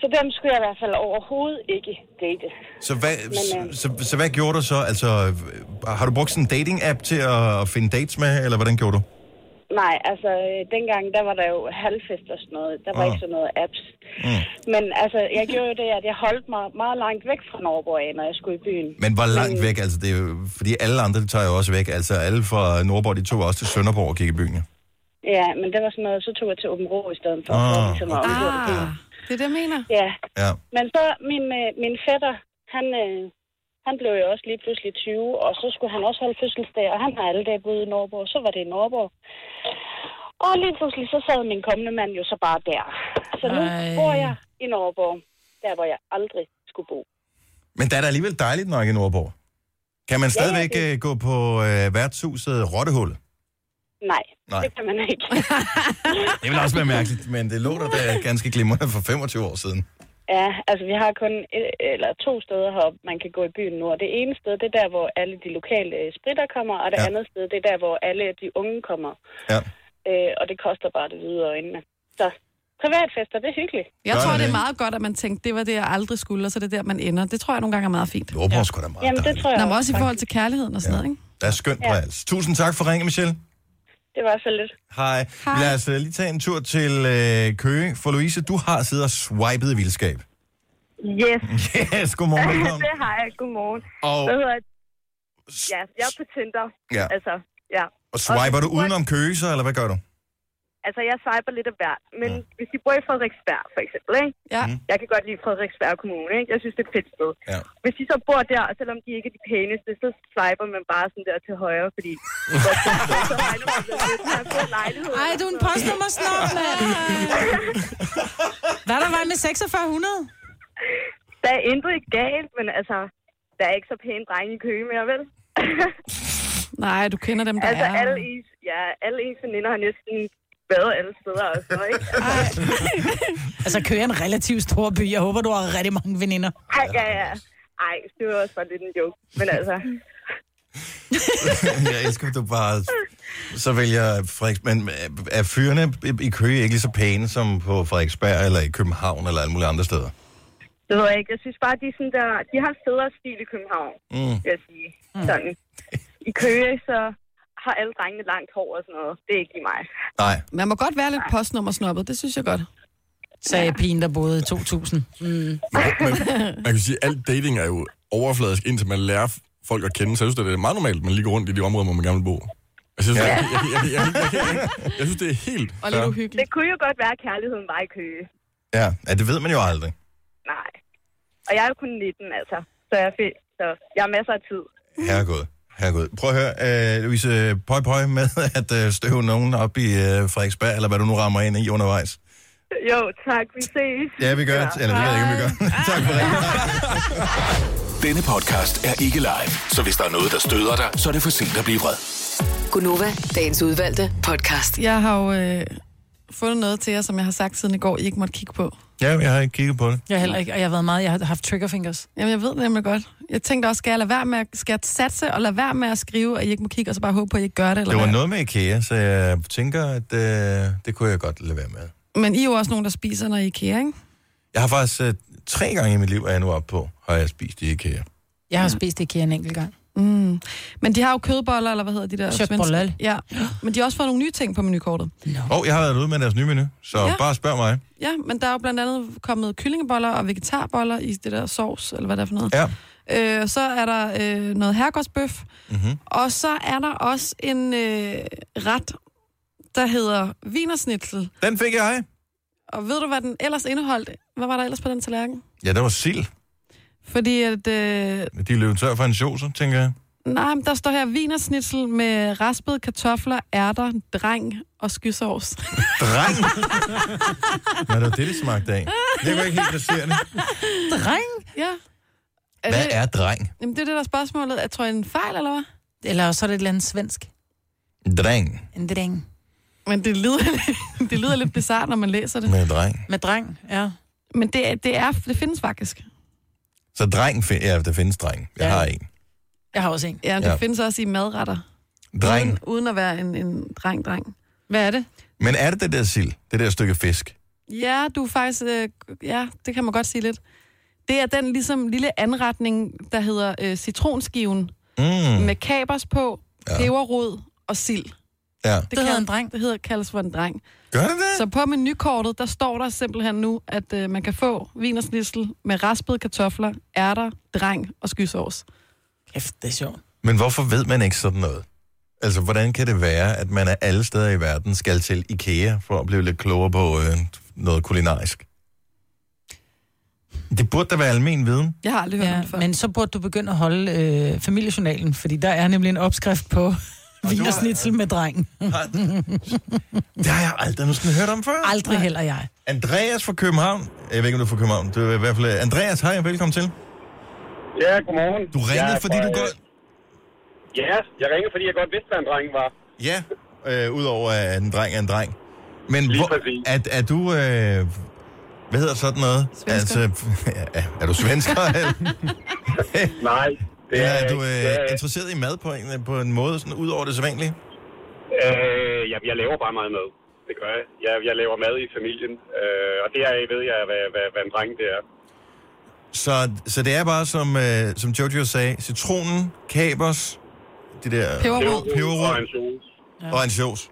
Speaker 11: Så dem skulle jeg i hvert fald overhovedet ikke date.
Speaker 1: Så hvad,
Speaker 11: Men, øh,
Speaker 1: så, så, så hvad gjorde du så? Altså, øh, har du brugt sådan en dating-app til at, at finde dates med, eller hvordan gjorde du?
Speaker 11: Nej, altså øh, dengang, der var der jo halvfest og sådan noget. Der var
Speaker 1: Ah.
Speaker 11: oh. ikke sådan noget apps. Mm. Men altså, jeg gjorde jo det, at jeg holdt mig meget langt væk fra Norborg, af, når jeg skulle i byen.
Speaker 1: Men hvor langt væk? Altså, det er jo, fordi alle andre de tager jo også væk. Altså, alle fra Nordborg, de tog også til Sønderborg og gik i byen. Ja.
Speaker 11: Ja, men det var sådan noget, så tog jeg til Åben Rå i stedet for.
Speaker 1: Ah,
Speaker 11: for ligesom at undgå det.
Speaker 5: Det er det, jeg mener.
Speaker 11: Ja,
Speaker 1: ja.
Speaker 11: men så min, øh, min fætter, han, øh, han blev jo også lige pludselig 20, og så skulle han også holde fødselsdag, og han har alle dage boet i Norborg, så var det i Norborg. Og lige pludselig, så sad min kommende mand jo så bare der. Så nu
Speaker 2: Ej.
Speaker 11: Ej. bor jeg i Norborg, der hvor jeg aldrig skulle bo.
Speaker 1: Men der er da alligevel dejligt nok i Nordborg. Kan man
Speaker 11: Ja, ja,
Speaker 1: stadigvæk
Speaker 11: det-
Speaker 1: øh, gå på øh, værtshuset Rottehul?
Speaker 11: Nej,
Speaker 1: Nej.
Speaker 11: Nej, det kan man ikke.
Speaker 1: Det vil også være mærkeligt, men det lå der da ganske glimrende for 25 år siden.
Speaker 11: ja, altså vi har kun et, eller to steder heroppe, man kan gå i byen nu. Og det ene sted, det er der, hvor alle de lokale øh, spritter kommer, og det
Speaker 1: Ja.
Speaker 11: ja. andet sted, det er der, hvor alle de unge kommer.
Speaker 1: Ja.
Speaker 11: Øh, og det koster bare det hvide øjnene. Så privatfester, det er hyggeligt.
Speaker 5: Jeg
Speaker 1: Sådan
Speaker 5: tror, det
Speaker 1: er
Speaker 5: er
Speaker 1: det.
Speaker 5: meget godt, at man tænkte, det var det, jeg aldrig skulle, og så er det der, man ender. Det tror jeg nogle gange er meget fint.
Speaker 1: Nordborg ja. skulle da meget
Speaker 11: Jamen, det
Speaker 1: dejligt.
Speaker 11: tror jeg
Speaker 5: Nå, men også i forhold til kærligheden og sådan noget, ikke?
Speaker 1: Der er skønt på
Speaker 11: Ja.
Speaker 1: alt. Tusind tak for ringen, Michelle.
Speaker 11: Det var så lidt.
Speaker 1: Hej. Hej. Lad os øh, lige tage en tur til øh, Køge. For Louise, du har siddet og swipet i vildskab.
Speaker 11: Yes.
Speaker 1: Yes, godmorgen. velkommen.
Speaker 11: det har jeg. Godmorgen.
Speaker 1: Og,
Speaker 11: Hvad hedder det? Ja, jeg er på Tinder.
Speaker 1: ja.
Speaker 11: Altså, ja.
Speaker 1: og swiper du udenom Køge, så, eller hvad gør du?
Speaker 11: Altså, jeg swiper lidt af hvert. Men
Speaker 1: Mm.
Speaker 11: ja. hvis I bor i Frederiksberg, for eksempel, ikke?
Speaker 5: Ja.
Speaker 11: Jeg kan godt lide Frederiksberg Kommune, ikke? Jeg synes, det er et fedt sted.
Speaker 1: Ja.
Speaker 11: Hvis de så bor der, og selvom de ikke er de pæneste, så swiper man bare sådan der til højre, fordi... det er et godt sted, så regner man med, at man har en god lejlighed.
Speaker 2: Ej, du er en postnummer snob, Hvad er der vej med 4600?
Speaker 11: Der er intet galt, men altså, der er ikke så pæne drenge i Køge mere, vel?
Speaker 5: Nej, du kender dem, der
Speaker 11: Altså,
Speaker 5: er.
Speaker 11: alle ens, ja, alle ens veninder har næsten været alle steder og sådan noget, ikke? Altså,
Speaker 2: Altså, kører en relativt stor by. Jeg håber, du har rigtig mange veninder.
Speaker 11: Altså, ej, ja, ja. Ej, det var også bare lidt en joke. Men altså,
Speaker 1: jeg elsker, at du bare... Så vælger Frederiks... Men øh, er fyrene i- i Køge ikke lige så pæne som på Frederiksberg, eller i København, eller alle mulige andre steder?
Speaker 11: det ved jeg ikke. Jeg synes bare, de, er sådan der, de har federe stil i København,
Speaker 1: Mm.
Speaker 11: vil jeg sige. Sådan. I Køge, så har alle drengene langt hår og sådan noget. Det er ikke lige mig.
Speaker 1: Nej.
Speaker 5: Man må godt være lidt postnummersnoppet, det synes jeg godt.
Speaker 2: Sagde pigen, der boede i 2000. Mm.
Speaker 4: Man kan sige, at alt dating er jo overfladisk, indtil man lærer folk at kende. Så jeg synes, det er meget normalt, at man ligger rundt i de områder, hvor man gerne vil bo. Altså, jeg, synes, jeg, jeg, jeg, jeg, jeg, jeg, jeg, jeg synes, det er helt...
Speaker 5: Og lidt
Speaker 1: Ja.
Speaker 5: uhyggeligt.
Speaker 11: Det kunne jo godt være, at kærligheden var i Køge.
Speaker 1: Ja, ja det ved man jo aldrig.
Speaker 11: Nej. Og jeg er jo kun 19, altså. Så jeg er fedt. Så jeg har masser af tid.
Speaker 1: Herregud. Herregud. Prøv at høre, øh, Louise, pøj pøj med at øh, støve nogen op i øh, Frederiksberg, eller hvad du nu rammer ind i undervejs.
Speaker 11: Jo, tak. Vi ses.
Speaker 1: Ja, vi gør det. Eller det ved jeg ikke, om vi gør. tak for det.
Speaker 7: Denne podcast er ikke live, så hvis der er noget, der støder dig, så er det for sent at blive vred.
Speaker 6: Gunova, dagens udvalgte podcast.
Speaker 5: Jeg har jo øh, fundet noget til jer, som jeg har sagt siden i går, I ikke måtte kigge på.
Speaker 1: Ja, jeg har ikke kigget på det.
Speaker 2: Jeg heller ikke, og jeg har været meget, jeg har haft triggerfingers.
Speaker 5: Jamen, jeg ved det nemlig godt. Jeg tænkte også, skal jeg lade være med at, skal jeg satse og lade være med at skrive, at I ikke må kigge, og så bare håbe på, at I ikke gør det? Eller
Speaker 1: Det var
Speaker 5: hvad?
Speaker 1: noget med IKEA, så jeg tænker, at øh, det kunne jeg godt lade være med.
Speaker 5: Men I er jo også nogen, der spiser, når I er i IKEA, ikke?
Speaker 1: Jeg har faktisk øh, tre gange i mit liv, er jeg nu oppe på, har jeg spist i IKEA.
Speaker 2: Jeg har spist IKEA en enkelt gang.
Speaker 5: Mm. Mm. Men de har jo kødboller, eller hvad hedder de der? svenske?
Speaker 2: Köttbullar.
Speaker 5: Ja, men de har også fået nogle nye ting på menukortet.
Speaker 1: Og jeg har været ude med deres nye menu, så ja.
Speaker 5: Ja.
Speaker 1: bare spørg mig.
Speaker 5: Ja, men der er jo blandt andet kommet kyllingeboller og vegetarboller i det der sovs, eller hvad det er for noget.
Speaker 1: Ja.
Speaker 5: Øh, så er der øh, noget herregårdsbøf,
Speaker 1: Mm-hmm.
Speaker 5: og så er der også en øh, ret, der hedder vinersnitzel.
Speaker 1: Den fik jeg.
Speaker 5: Og ved du, hvad den ellers indeholdt? Hvad var der ellers på den tallerken?
Speaker 1: Ja, der var sild.
Speaker 5: Fordi at... Øh,
Speaker 1: De løb tør for en chose, tænker jeg.
Speaker 5: nej, men der står her vinersnitzel med raspede kartofler, ærter, dreng og skysovs.
Speaker 1: Dreng! Nå, det var det, det smagte af. Det var ikke helt placerende.
Speaker 2: Dreng?
Speaker 5: Ja. Er
Speaker 1: Hvad
Speaker 5: det,
Speaker 1: er dreng?
Speaker 5: Jamen, det er det, der er spørgsmålet. Er, tror jeg, en fejl, eller hvad?
Speaker 2: Eller også er det et eller andet svensk.
Speaker 1: Dreng
Speaker 2: En dreng.
Speaker 5: Men det lyder, det lyder lidt bizarrt, når man læser det.
Speaker 1: med dreng.
Speaker 2: Med dreng, ja.
Speaker 5: Men det, er- det, er, det findes faktisk.
Speaker 1: Så dreng, fi- ja, der findes dreng. Jeg
Speaker 2: Ja.
Speaker 1: har en.
Speaker 2: Jeg har også en.
Speaker 5: Ja, det
Speaker 1: Ja.
Speaker 5: ja. findes også i madretter.
Speaker 1: Dreng.
Speaker 5: Uden, uden at være en, en dreng-dreng.
Speaker 2: Hvad er det?
Speaker 1: Men er det det der sild? Det der stykke fisk?
Speaker 5: Ja, du er faktisk... Øh, ja, det kan man godt sige lidt. Det er den ligesom lille anretning, der hedder øh, citronskiven, mm.
Speaker 1: Mm.
Speaker 5: med kapers på,
Speaker 1: Ja.
Speaker 5: ja. peberrod og sild. Det,
Speaker 1: Ja.
Speaker 2: Det hedder en dreng.
Speaker 5: Det hedder, kaldes for en dreng.
Speaker 1: Gør det det?
Speaker 5: Så på menukortet, der står der simpelthen nu, at øh, man kan få vinersnissel med raspede kartofler, ærter, dreng og skysovs.
Speaker 2: Kæft, det er sjovt.
Speaker 1: Men hvorfor ved man ikke sådan noget? Altså, hvordan kan det være, at man af alle steder i verden skal til IKEA for at blive lidt klogere på øh, noget kulinarisk? Det burde da være almen viden.
Speaker 5: Jeg har aldrig hørt ja, om
Speaker 2: Ja,
Speaker 5: det før.
Speaker 2: men så burde du begynde at holde øh, familiejournalen, fordi der er nemlig en opskrift på vinersnitzel med drengen.
Speaker 1: Det har jeg aldrig nogensinde hørt om før.
Speaker 2: Aldrig heller jeg.
Speaker 1: Andreas fra København. Jeg ved ikke, om du er fra København. Det er i hvert fald... øh, Andreas, hej og velkommen til.
Speaker 9: Ja, godmorgen.
Speaker 1: Du ringede,
Speaker 9: Jeg
Speaker 1: ja,
Speaker 9: er
Speaker 1: fordi
Speaker 9: fra,
Speaker 1: du
Speaker 9: øh,
Speaker 1: godt...
Speaker 9: Ja, jeg ringede, fordi jeg godt vidste, hvad en dreng var.
Speaker 1: Ja, øh, udover at en dreng er en dreng. Men
Speaker 9: Lige
Speaker 1: hvor,
Speaker 9: præcis.
Speaker 1: er, er du... Øh, hvad hedder sådan noget?
Speaker 5: Svensker.
Speaker 1: Altså, ja, er du svensker? eller-
Speaker 9: Nej. Det
Speaker 1: ja,
Speaker 9: er,
Speaker 1: er
Speaker 9: jeg
Speaker 1: du
Speaker 9: ikke.
Speaker 1: øh,
Speaker 9: Jeg-
Speaker 1: interesseret i mad på en, øh, på en måde, sådan ud over det sædvanlige?
Speaker 9: Øh, jeg, jeg laver bare meget mad. Det gør jeg. Jeg, jeg laver mad i familien. Øh, og deraf ved jeg, hvad, hvad, hvad en dreng det er.
Speaker 1: Så, så det er bare, som, øh, som Jojo sagde, citronen, kapers, det der...
Speaker 5: Peberrod.
Speaker 1: Peberrod.
Speaker 9: Og en sauce.
Speaker 1: Og en sjovs.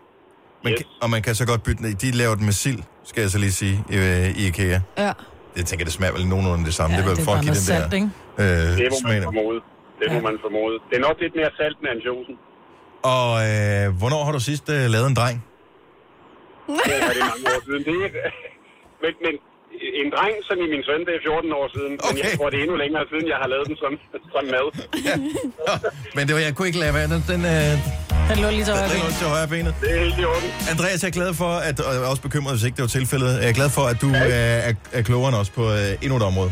Speaker 1: Man
Speaker 9: Yes.
Speaker 1: kan, og man kan så godt bytte den. De laver den med sild, skal jeg så lige sige, i, øh, i IKEA.
Speaker 5: Ja.
Speaker 1: Jeg tænker, det smager vel nogenlunde det samme. Ja, det er vel for
Speaker 2: bare
Speaker 1: at give
Speaker 2: noget
Speaker 1: den
Speaker 2: salt,
Speaker 1: der
Speaker 2: ikke?
Speaker 9: Det
Speaker 1: øh,
Speaker 9: må man
Speaker 1: smagen.
Speaker 9: formode. Det må man formode. Det er nok lidt mere salt end ansjosen.
Speaker 1: Og øh, hvornår har du sidst øh, lavet en dreng?
Speaker 9: Det er det mange år siden. Det er, men, men en dreng, som i min søn, det er 14 år siden. Okay. Men jeg
Speaker 1: Okay.
Speaker 9: tror, det er endnu længere siden, jeg har lavet den som, som mad.
Speaker 1: Men det var, jeg kunne ikke lade være. Den, den, øh, den
Speaker 2: Den lå lige så
Speaker 1: lå
Speaker 2: øjeblik.
Speaker 1: til højre benet.
Speaker 9: Det er helt i orden.
Speaker 1: Andreas, jeg er glad for, at, og jeg er også bekymret, hvis ikke det var tilfældet. Jeg er glad for, at du øh, er, er klogere end os på øh, endnu et område.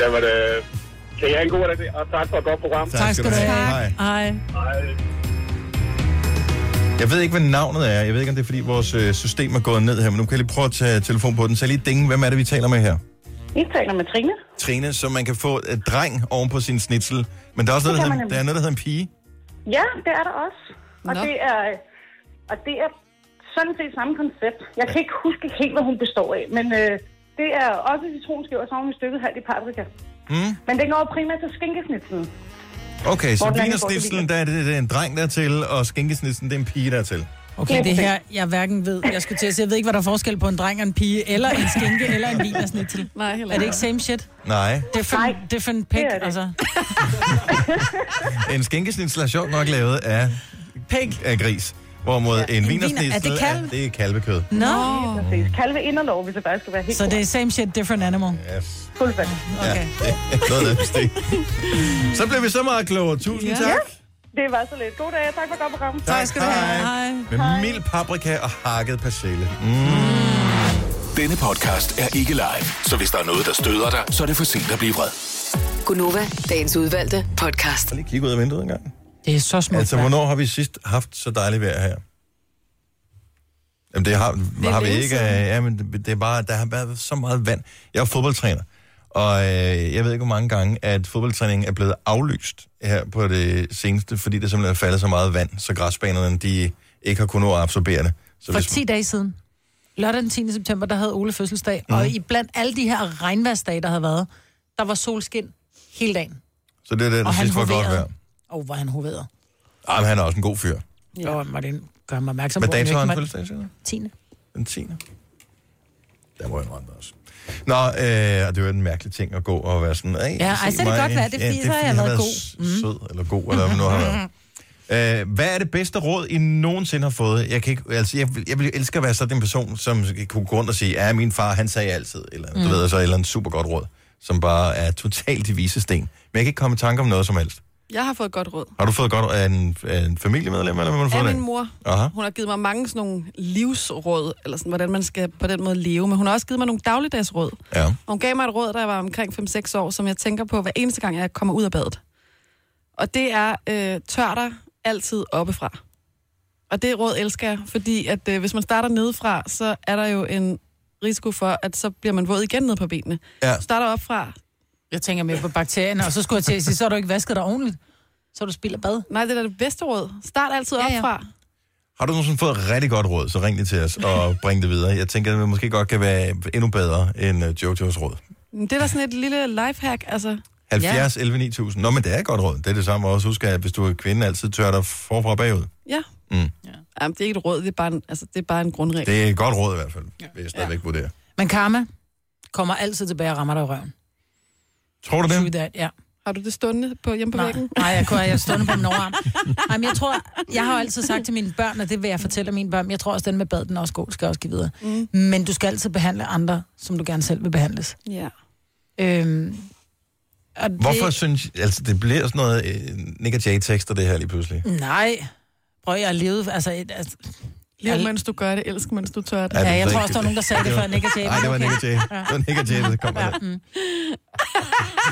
Speaker 9: Jamen, øh, kan I have en god dag, og tak for et godt program.
Speaker 2: Tak skal du have.
Speaker 1: Hej.
Speaker 2: Ej.
Speaker 9: Hej.
Speaker 1: Jeg ved ikke, hvad navnet er. Jeg ved ikke, om det er, fordi vores øh, system er gået ned her, men nu kan jeg lige prøve at tage telefon på den. Så jeg lige dinge, hvem er det, vi taler med her?
Speaker 10: Vi taler med Trine.
Speaker 1: Trine, så man kan få et dreng oven på sin snitsel. Men der er også noget,
Speaker 10: Det
Speaker 1: der,
Speaker 10: kan
Speaker 1: hedder,
Speaker 10: man
Speaker 1: der er noget, der hedder en pige.
Speaker 10: Ja, det er der også. Og,
Speaker 5: Nå.
Speaker 10: det er, og det er sådan set samme koncept. Jeg kan ikke huske helt, hvad hun består af, men øh, det er også citronskiver, og så har hun stykket halvt i paprika.
Speaker 1: Mm.
Speaker 10: Men den går primært til skinkesnitselen.
Speaker 1: Okay, så
Speaker 10: Hvor den anden går til
Speaker 1: vinersnitselen,
Speaker 10: Wiener.
Speaker 1: der er det, det er en dreng der er til, og skinkesnitselen, det er en pige der er til.
Speaker 2: Okay, det her, jeg hverken ved, jeg skulle til at sige, jeg ved ikke, hvad der er forskel på en dreng og en pige, eller en skinke, eller en vinersnitzel.
Speaker 5: Nej, heller
Speaker 2: Er det ikke same shit?
Speaker 1: Nej,
Speaker 2: Different,
Speaker 10: Nej,
Speaker 2: different pig,
Speaker 10: det er det.
Speaker 2: altså.
Speaker 1: en skinkesnitsel er sjovt nok lavet af,
Speaker 2: Pig.
Speaker 1: af gris. Hvorimod ja,
Speaker 2: en
Speaker 1: en
Speaker 2: wiener-
Speaker 1: vinersnitsel
Speaker 2: er det kalv?
Speaker 1: er, det er kalvekød.
Speaker 2: Nå.
Speaker 5: Nå.
Speaker 10: Præcis. Kalve inderlov, hvis jeg bare skal være helt
Speaker 2: Så det er same shit, different animal.
Speaker 1: Yes.
Speaker 10: fuldstændig.
Speaker 2: Okay.
Speaker 1: Noget af den stil. Så blev vi så meget klogere. Tusind
Speaker 5: Ja.
Speaker 1: tak.
Speaker 10: Det var så lidt. God dag. Tak for godt program.
Speaker 1: Tak skal du have.
Speaker 2: Hej.
Speaker 1: Med mild paprika og hakket persille. Mm.
Speaker 7: Mm. Denne podcast er ikke live, så hvis der er noget, der støder dig, så er det for sent at blive vred.
Speaker 6: Gunova, dagens udvalgte podcast.
Speaker 1: Lige kigge ud af vinduet en gang.
Speaker 2: Det er så smukt.
Speaker 1: Altså, hvornår har vi sidst haft så dejligt vejr her? Jamen, det har, det har vi
Speaker 5: længe
Speaker 1: ikke. øh, Ja, men det, det er bare, der har været så meget vand. Jeg er fodboldtræner, og øh, jeg ved ikke, hvor mange gange, at fodboldtræningen er blevet aflyst her på det seneste, fordi der simpelthen er faldet så meget vand, så græsbanerne, de ikke har kunnet nå at absorbere det. Så
Speaker 2: For
Speaker 1: hvis,
Speaker 2: 10 dage siden, lørdag den 10. september, der havde Ole fødselsdag,
Speaker 1: Mhm.
Speaker 2: mm. og i blandt alle de her regnværsdage, der havde været, der var solskin hele dagen.
Speaker 1: så det er det, der
Speaker 2: Og han
Speaker 1: sidst var godt
Speaker 2: hoverede.
Speaker 1: vejr.
Speaker 2: Og oh, hvor han hoveder.
Speaker 1: Ej, men han er også en god fyr.
Speaker 2: Ja. Og Martin gør mig opmærksom
Speaker 1: Hvad
Speaker 2: på, at
Speaker 1: dato har
Speaker 2: jeg
Speaker 1: han
Speaker 2: ikke
Speaker 1: fødselsdag, siger du?
Speaker 2: 10.
Speaker 1: Den 10. Der må jeg indrømme det også. Nå, øh, og det var en mærkelig ting at gå og være sådan... "Ej,
Speaker 2: Ja, ej,
Speaker 1: se
Speaker 2: så er det
Speaker 1: mig."
Speaker 2: godt være, det er fordi, så har jeg været god. Mm.
Speaker 1: s- Sød eller god, eller hvad man nu har været. Øh, hvad er det bedste råd, I nogensinde har fået? Jeg, kan ikke, altså, jeg, vil- jeg ville elske at være sådan en person, som kunne gå rundt og sige, ja, min far, han sagde altid, eller mm. du
Speaker 12: Mm.
Speaker 1: ved, så et eller andet super godt råd, som bare er totalt i visesten. Men jeg kan ikke komme i tanke om noget som helst.
Speaker 5: Jeg har fået et godt råd.
Speaker 1: Har du fået godt af en, af en familiemedlem, eller hvad har du
Speaker 5: af
Speaker 1: fået
Speaker 5: min mor.
Speaker 1: Aha.
Speaker 5: Hun har givet mig mange sådan nogle livsråd, eller sådan, hvordan man skal på den måde leve, men hun har også givet mig nogle dagligdagsråd.
Speaker 1: Ja.
Speaker 5: Og hun gav mig et råd, da jeg var omkring 5-6 år, som jeg tænker på hver eneste gang, jeg kommer ud af badet. Og det er, øh, tør dig altid oppefra. Og det råd elsker jeg, fordi at, øh, hvis man starter nedefra, så er der jo en risiko for, at så bliver man våd igen ned på benene.
Speaker 1: Ja.
Speaker 5: Du starter opfra.
Speaker 2: Jeg tænker mere på bakterierne, og så skulle jeg til at sige, så har du ikke vasket dig ordentligt. Så har du spildt bad.
Speaker 5: Nej, det er da det bedste råd. Start altid opfra. Ja, ja.
Speaker 1: Har du nogensinde fået et rigtig godt råd, så ring det til os og bring det videre. Jeg tænker, at det måske godt kan være endnu bedre end øh, Jojo's råd.
Speaker 5: Men Det er da sådan et lille lifehack, altså.
Speaker 1: 70 11 9000. Nå, men det er et godt råd. Det er det samme også. Husk, at hvis du er kvinde, altid tør dig forfra og bagud.
Speaker 5: Ja.
Speaker 1: Mm.
Speaker 5: Jamen, det er ikke et råd, det er bare en, altså, det er bare en grundregel.
Speaker 1: Det er et godt råd i hvert fald, vil jeg stadigvæk vurdere.
Speaker 2: Men karma kommer altid tilbage og rammer dig i røven.
Speaker 1: Tror du
Speaker 2: True
Speaker 1: det?
Speaker 2: that, ja.
Speaker 5: Har du det stående på, hjemme på
Speaker 2: Nej.
Speaker 5: væggen?
Speaker 2: Nej, jeg kunne jeg stående på min overarm. Nej, men jeg tror, jeg har jo altid sagt til mine børn, og det vil jeg fortælle mine børn, men jeg tror også, den med bad, den er også god, skal jeg også give videre.
Speaker 5: Mm.
Speaker 2: Men du skal altid behandle andre, som du gerne selv vil behandles.
Speaker 5: Ja.
Speaker 2: Øhm, og det-
Speaker 1: Hvorfor synes Altså, det bliver sådan noget øh, Nick og Jay-tekster, det her lige pludselig.
Speaker 2: Nej. Prøv, jeg har levet... Altså, et, altså,
Speaker 5: Lev, mens du gør det, elsk, mens du tør det.
Speaker 1: Ja, det
Speaker 2: Ja, jeg
Speaker 1: ved
Speaker 2: tror
Speaker 1: ikke,
Speaker 2: også, der var nogen, der sagde det før Nick og Jay.
Speaker 1: Nej, det var
Speaker 2: Okay.
Speaker 1: Nick og Jay.
Speaker 2: Ja.
Speaker 1: Det var Nick og Jay, der kom med det.
Speaker 2: Mm.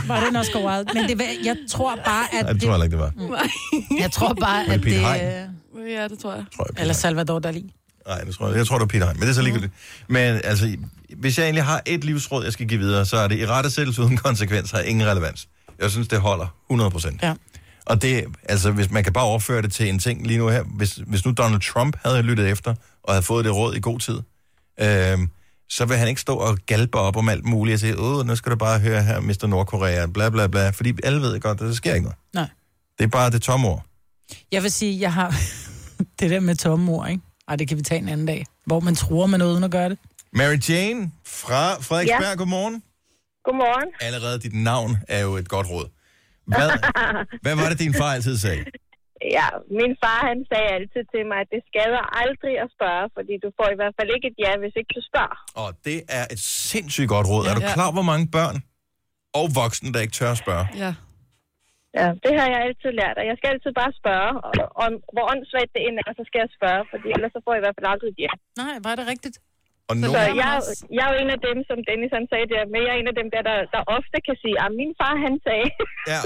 Speaker 2: Var den også wild? Men det, var- jeg tror bare, at...
Speaker 1: Nej, det tror jeg heller ikke, det var.
Speaker 2: Mm. Jeg tror bare,
Speaker 1: Var det
Speaker 2: at
Speaker 1: Pete
Speaker 2: det...
Speaker 1: Hein?
Speaker 5: Ja, det tror jeg.
Speaker 2: Eller Salvador Dali.
Speaker 1: Nej, det tror jeg, jeg tror, det var Peter Hein, men det er så ligegyldigt. Men altså, hvis jeg egentlig har et livsråd, jeg skal give videre, så er det i rettesættelse uden konsekvens, har ingen relevans. Jeg synes, det holder 100 procent.
Speaker 2: Ja.
Speaker 1: Og det, altså, hvis man kan bare overføre det til en ting lige nu her, hvis, hvis nu Donald Trump havde lyttet efter, og havde fået det råd i god tid, øhm, så vil han ikke stå og galpe op om alt muligt og sige, åh, nu skal du bare høre her, Mr. Nordkorea, bla bla bla, fordi alle ved godt, at der sker ikke noget.
Speaker 2: Nej.
Speaker 1: Det er bare det tomme ord.
Speaker 2: Jeg vil sige, jeg har... det der med tomme ord, ikke? Ej, det kan vi tage en anden dag. Hvor man tror med noget, uden at gøre det.
Speaker 1: Mary Jane fra Frederiksberg, ja. godmorgen.
Speaker 10: Godmorgen.
Speaker 1: Allerede dit navn er jo et godt råd. Hvad, hvad var det, din far altid sagde?
Speaker 10: Ja, min far han sagde altid til mig, at det skader aldrig at spørge, fordi du får i hvert fald ikke et ja, hvis ikke du spørger.
Speaker 1: Og det er et sindssygt godt råd. Ja, er du
Speaker 10: Ja.
Speaker 1: klar over, hvor mange børn og voksne, der ikke tør at spørge?
Speaker 5: Ja.
Speaker 10: Ja, det har jeg altid lært, og jeg skal altid bare spørge, og, om, hvor åndssvagt det end er, så skal jeg spørge, fordi ellers så får jeg i hvert fald aldrig et ja.
Speaker 2: Nej, var det rigtigt?
Speaker 1: Og
Speaker 10: så
Speaker 1: nogen-
Speaker 10: så jeg, jeg er jo en af dem, som Dennis han sagde der, men jeg er en af dem der, der, der ofte kan sige, at min far han sagde,
Speaker 1: Ja,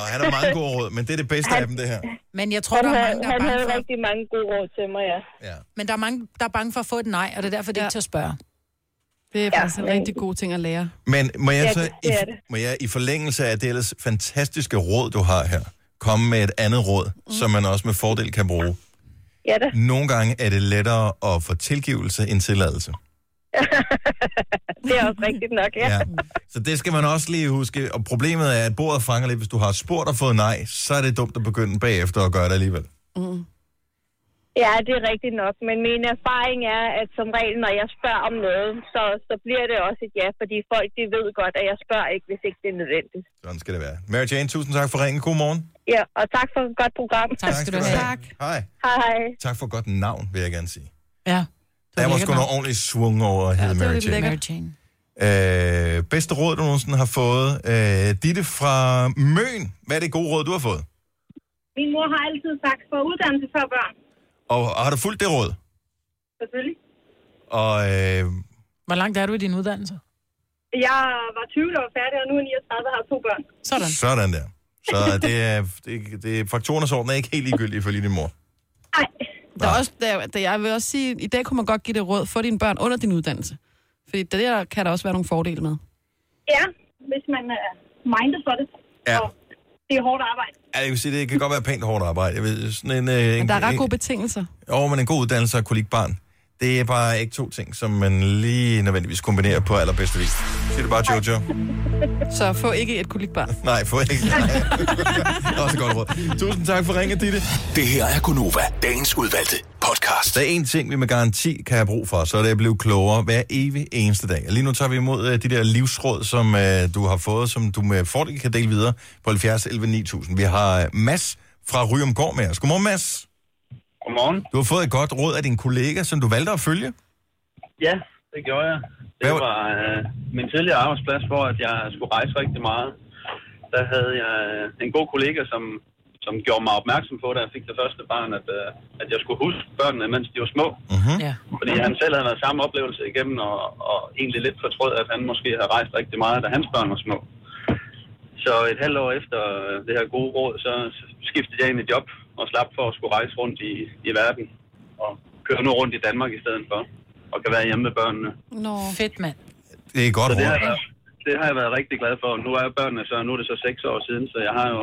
Speaker 1: og han har mange gode råd, men det er det bedste af dem, det her.
Speaker 2: Men jeg tror,
Speaker 10: han,
Speaker 2: der er
Speaker 10: havde,
Speaker 2: mange, der er
Speaker 10: han
Speaker 2: bange
Speaker 10: havde
Speaker 2: for...
Speaker 10: rigtig mange gode råd til mig, ja.
Speaker 2: Men der er mange, der er bange for at få et nej, og det er derfor, det er ikke til at spørge.
Speaker 5: Det er
Speaker 2: Ja,
Speaker 5: faktisk ja, en
Speaker 2: men-
Speaker 5: rigtig god ting at lære.
Speaker 1: Men må jeg
Speaker 5: Ja,
Speaker 1: så
Speaker 5: det-
Speaker 1: i,
Speaker 5: det er det.
Speaker 1: må jeg, i forlængelse af det ellers fantastiske råd, du har her, komme med et andet råd, mm. som man også med fordel kan bruge?
Speaker 10: Ja da.
Speaker 1: Nogle gange er det lettere at få tilgivelse end tilladelse.
Speaker 10: Det er også rigtigt nok, ja.
Speaker 1: Ja. Så det skal man også lige huske. Og problemet er, at bordet fanger lidt. Hvis du har spurgt og fået nej, så er det dumt at begynde bagefter at gøre det alligevel.
Speaker 10: Mm. Ja, det er rigtigt nok, men min erfaring er, at som regel, når jeg spørger om noget, så, så bliver det også et ja, fordi folk de ved godt, at jeg spørger ikke, hvis ikke det er nødvendigt.
Speaker 1: Sådan skal det være. Mary Jane, tusind tak for ringen. God morgen.
Speaker 10: Ja, og tak for et godt program.
Speaker 2: Tak skal du have. Tak.
Speaker 1: Hej.
Speaker 10: Hej, hej.
Speaker 1: Tak for et godt navn, vil jeg gerne sige.
Speaker 2: Ja.
Speaker 1: Der var
Speaker 2: lækkert
Speaker 1: sgu
Speaker 2: navn.
Speaker 1: noget ordentligt svung over at hedde Mary Jane.
Speaker 2: Mary Jane.
Speaker 1: Øh, bedste råd, du nogensinde har fået. Øh, Ditte fra Møn. Hvad er det gode råd, du har fået?
Speaker 13: Min mor har altid sagt, for uddannelse før børn,
Speaker 1: Og, og har du fulgt det råd?
Speaker 13: selvfølgelig.
Speaker 1: Og øh,
Speaker 2: Hvor langt er du i din uddannelse?
Speaker 13: Jeg var 20, da jeg var færdig, og nu er jeg 39 og har to børn.
Speaker 2: Sådan.
Speaker 1: sådan der. Så det er, det, det, faktorernes orden er ikke helt ligegyldigt for lille mor.
Speaker 5: Der er også, der, der, jeg vil også sige, i dag kunne man godt give det råd for dine børn under din uddannelse. Fordi det der kan der også være nogle fordele med.
Speaker 13: Ja, hvis man er mindet for det.
Speaker 1: Ja.
Speaker 13: Det er hårdt arbejde.
Speaker 1: Ja, jeg kan sige, det kan godt være pænt hårdt arbejde. Jeg ved, sådan en, øh, en,
Speaker 5: Men der er ret
Speaker 1: en-
Speaker 5: gode betingelser.
Speaker 1: Jo, men en god uddannelse og et kollegibarn, Det er bare ikke to ting, som man lige nødvendigvis kombinerer på allerbedste vis. Siger du bare, Jojo?
Speaker 5: Så få ikke et kolikbarn.
Speaker 1: Nej, få ikke. Nej. Også godt råd. Tusind tak for ringet, Ditte. Det her er Gunova, dagens udvalgte podcast. Der er en ting, vi med garanti kan have brug for, så er det at blive klogere hver evig eneste dag. Og Lige nu tager vi imod øh, de der livsråd, som øh, du har fået, som du med fordel kan dele videre på 70 11 9000. Vi har øh, Mads fra Ryumgård med os. Godmorgen, Mads.
Speaker 9: Godmorgen.
Speaker 1: Du har fået et godt råd af din kollega, som du valgte at følge.
Speaker 9: Ja, det gjorde jeg. Det var øh, min tidligere arbejdsplads, hvor at jeg skulle rejse rigtig meget. Der havde jeg øh, en god kollega, som, som gjorde mig opmærksom på, da jeg fik det første barn, at, øh, at jeg skulle huske børnene, mens de var små.
Speaker 1: Mm-hmm.
Speaker 2: Ja.
Speaker 9: Fordi han selv havde været samme oplevelse igennem, og, og egentlig lidt fortrød, at han måske havde rejst rigtig meget, da hans børn var små. Så et halvt år efter øh, det her gode råd, så så skiftede jeg ind i job og slap for at skulle rejse rundt i, i verden. Og køre nu rundt i Danmark i stedet for. Og kan være hjemme med børnene.
Speaker 2: Nå. Fedt, mand.
Speaker 1: Det er et godt
Speaker 9: så det
Speaker 1: råd.
Speaker 9: har, jeg været, det har jeg været rigtig glad for. Nu er børnene så, nu er det så seks år siden, så jeg har jo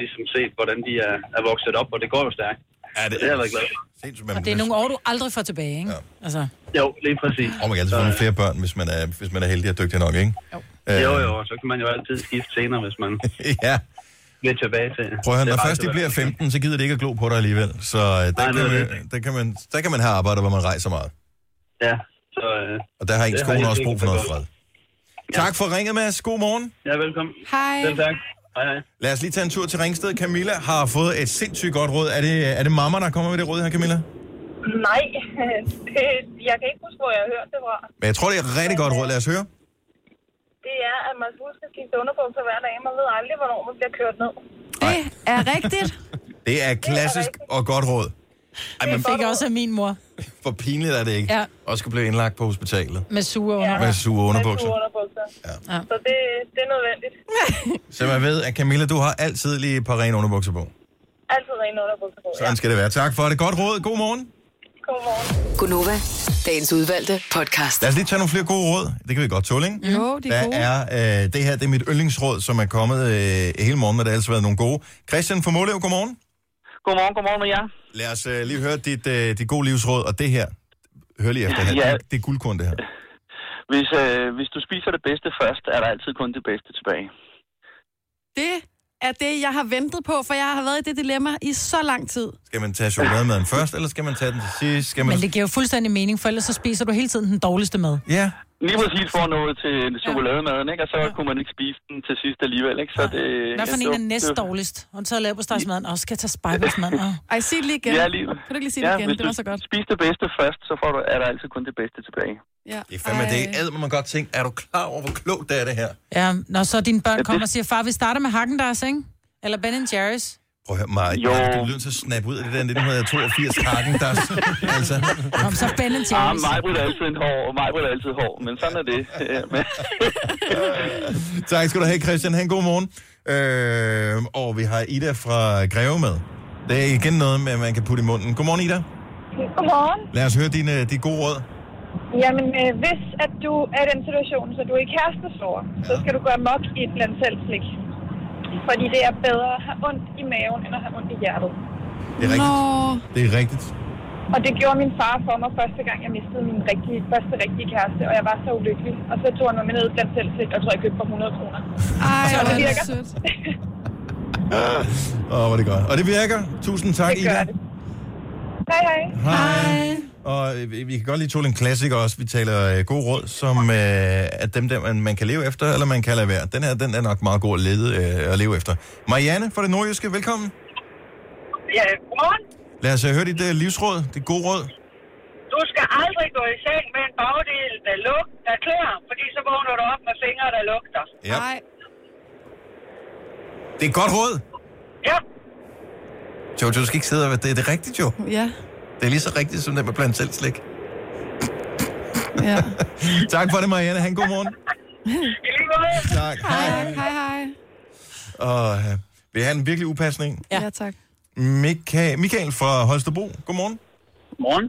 Speaker 9: ligesom set, hvordan de er, er vokset op, og det går jo stærkt.
Speaker 1: Ja,
Speaker 9: det, det har jeg været glad for.
Speaker 2: Og det er nogle år, du aldrig får tilbage, ikke? Ja. Altså.
Speaker 9: Jo, lige præcis.
Speaker 1: Og man kan altid få nogle flere børn, hvis man er, hvis man er heldig og dygtig nok, ikke? Øh, Jo.
Speaker 9: Jo, jo, og så kan man jo altid skifte senere, hvis man
Speaker 1: ja.
Speaker 9: vil tilbage til.
Speaker 1: Prøv at høre,
Speaker 9: Det
Speaker 1: når
Speaker 9: er
Speaker 1: først de
Speaker 9: rejse-
Speaker 1: bliver 15, så gider de ikke at glo på dig alligevel. Så øh, der,
Speaker 9: Nej,
Speaker 1: kan
Speaker 9: det er
Speaker 1: man, der, kan man, der kan man have arbejde, hvor man rejser meget.
Speaker 9: Ja, så... Øh,
Speaker 1: Og der har ens
Speaker 9: det
Speaker 1: kone
Speaker 9: jeg
Speaker 1: også brug for
Speaker 9: ikke
Speaker 1: noget fred. Tak for ringet, Mads. God morgen.
Speaker 9: Ja, velkommen.
Speaker 5: Hej.
Speaker 9: Selv tak. Hej, hej.
Speaker 1: Lad os lige tage en tur til Ringsted. Camilla har fået et sindssygt godt råd. Er det, er det mamma, der kommer med det råd her, Camilla?
Speaker 13: Nej, det, jeg kan ikke huske, hvor jeg har hørt det fra.
Speaker 1: Men jeg tror, det er et rigtig godt råd. Lad os høre.
Speaker 13: Det er, at man skal huske at skifte underbukser hver dag. Man ved aldrig, hvornår man bliver kørt ned.
Speaker 5: Det er rigtigt.
Speaker 1: Det er klassisk og godt råd. Ej, men
Speaker 2: Det fik jeg også af min mor
Speaker 1: for pinligt er det ikke.
Speaker 2: Ja.
Speaker 1: Og skal blive indlagt på hospitalet.
Speaker 2: med sure under.
Speaker 1: Med sure underbukser.
Speaker 13: Med sure underbukser.
Speaker 2: Ja.
Speaker 13: Så det, det er nødvendigt.
Speaker 1: Så man ved, at Camilla, du har altid lige et par rene underbukser på.
Speaker 13: Altid rene underbukser på.
Speaker 1: Sådan skal det være. Tak for det. Godt råd. God morgen.
Speaker 6: Gunova, dagens udvalgte podcast.
Speaker 1: Lad os lige tage nogle flere gode råd. Det kan vi godt tåle, ikke?
Speaker 5: Jo, de er
Speaker 1: Der
Speaker 5: gode.
Speaker 1: er, øh, det her det er mit yndlingsråd, som er kommet øh, hele morgen, og der har altså været nogle gode. Christian fra Målev, godmorgen.
Speaker 12: Godmorgen, godmorgen med jer.
Speaker 1: Lad os øh, lige høre dit, øh, dit gode livsråd, og det her. Hør lige efter her.
Speaker 12: Ja.
Speaker 1: Ja. Det er guldkorn, det her.
Speaker 12: Hvis, øh, hvis du spiser det bedste først, er der altid kun det bedste tilbage.
Speaker 5: Det er det, jeg har ventet på, for jeg har været i det dilemma i så lang tid.
Speaker 1: Skal man tage chokolademaden først, eller skal man tage den til sidst? Skal man...
Speaker 2: Men det giver jo fuldstændig mening, for ellers så spiser du hele tiden den dårligste mad.
Speaker 1: Ja.
Speaker 12: Lige præcis for noget til chokolademaden, ikke? Og så kunne man ikke spise den til sidst alligevel, ikke? Så det,
Speaker 2: Hvad for
Speaker 12: ja,
Speaker 2: en
Speaker 12: det-
Speaker 2: er næst
Speaker 12: det-
Speaker 2: dårligst? Hun tager laverstegsmaden, og skal jeg tage spejbelsmaden.
Speaker 5: Ej, sig det lige igen.
Speaker 12: Ja, lige.
Speaker 5: Kan du ikke lige sige det
Speaker 12: ja,
Speaker 5: igen?
Speaker 12: Hvis
Speaker 5: Det
Speaker 12: du
Speaker 5: var så godt.
Speaker 12: Spiser det bedste først, så får du, er der altid kun det bedste tilbage.
Speaker 5: Ja.
Speaker 1: Det er fandme det. Ad, man godt tænke, er du klar over, hvor klogt det er det her?
Speaker 2: Ja, når så dine børn
Speaker 1: det-
Speaker 2: kommer og siger, far, vi starter med Hagendars, ikke? Eller Ben Jerry's.
Speaker 1: Prøv at høre, Maja,
Speaker 12: Jo.
Speaker 1: du bliver nødt til at snappe ud af det der 1982 hakken, der... altså,
Speaker 2: Kom så Ben
Speaker 12: Ah,
Speaker 2: Jerry's.
Speaker 12: mig er altid en hår, og mig er altid hår, men sådan er det. Ja, men-
Speaker 1: tak skal du have, Christian. Ha' en god morgen. Øh, og vi har Ida fra Greve med. Det er igen noget, med, man kan putte i munden. Godmorgen, Ida.
Speaker 13: Godmorgen.
Speaker 1: Lad os høre dine, de gode råd.
Speaker 13: Jamen, øh, hvis at du er i den situation, så du er kærestesover, ja. så skal du gøre mok i et blandt selv slik. Fordi det er bedre at have ondt i maven, end at have ondt i hjertet.
Speaker 1: Det er rigtigt. Det er rigtigt.
Speaker 13: Og det gjorde min far for mig første gang, jeg mistede min rigtige, første rigtige kæreste, og jeg var så ulykkelig. Og så tog han mig med ned blandt selv slik, og jeg tror, jeg købte for 100 kroner.
Speaker 5: Ej,
Speaker 13: så det
Speaker 5: hvor er det
Speaker 13: virker.
Speaker 5: sødt.
Speaker 1: Åh, hvor er det godt. Og det virker. Tusind tak,
Speaker 13: Det gør
Speaker 1: Ida.
Speaker 13: det. Hej, hej.
Speaker 1: Hej. Og øh, vi vi kan godt lige tåle en klassiker også. Vi taler øh, gode råd, som øh, er dem, der man, man kan leve efter, eller man kan lade være. Den her, den er nok meget god at, lede, øh, at leve efter. Marianne fra det nordjyske, velkommen.
Speaker 13: Ja, godmorgen.
Speaker 1: Lad os øh, høre dit øh, livsråd, dit gode råd.
Speaker 13: Du skal aldrig gå i seng med en bagdel, der, luk, der klør, fordi så vågner du op med fingre, der lugter.
Speaker 1: Ja. Det er et godt råd.
Speaker 13: Ja.
Speaker 1: Jojo, du skal ikke sidde og være, det er det rigtigt, jo.
Speaker 5: Ja.
Speaker 1: Det er lige så rigtigt, som det med blandt selv slik.
Speaker 5: Ja.
Speaker 1: tak for det, Marianne. Ha' en god morgen.
Speaker 13: I lige måde.
Speaker 1: Tak.
Speaker 5: Hej, hej, hej.
Speaker 1: Og øh, vil I have en virkelig upassende en?
Speaker 5: Ja, ja tak.
Speaker 1: Mika- Michael fra Holstebro, godmorgen.
Speaker 12: Morgen.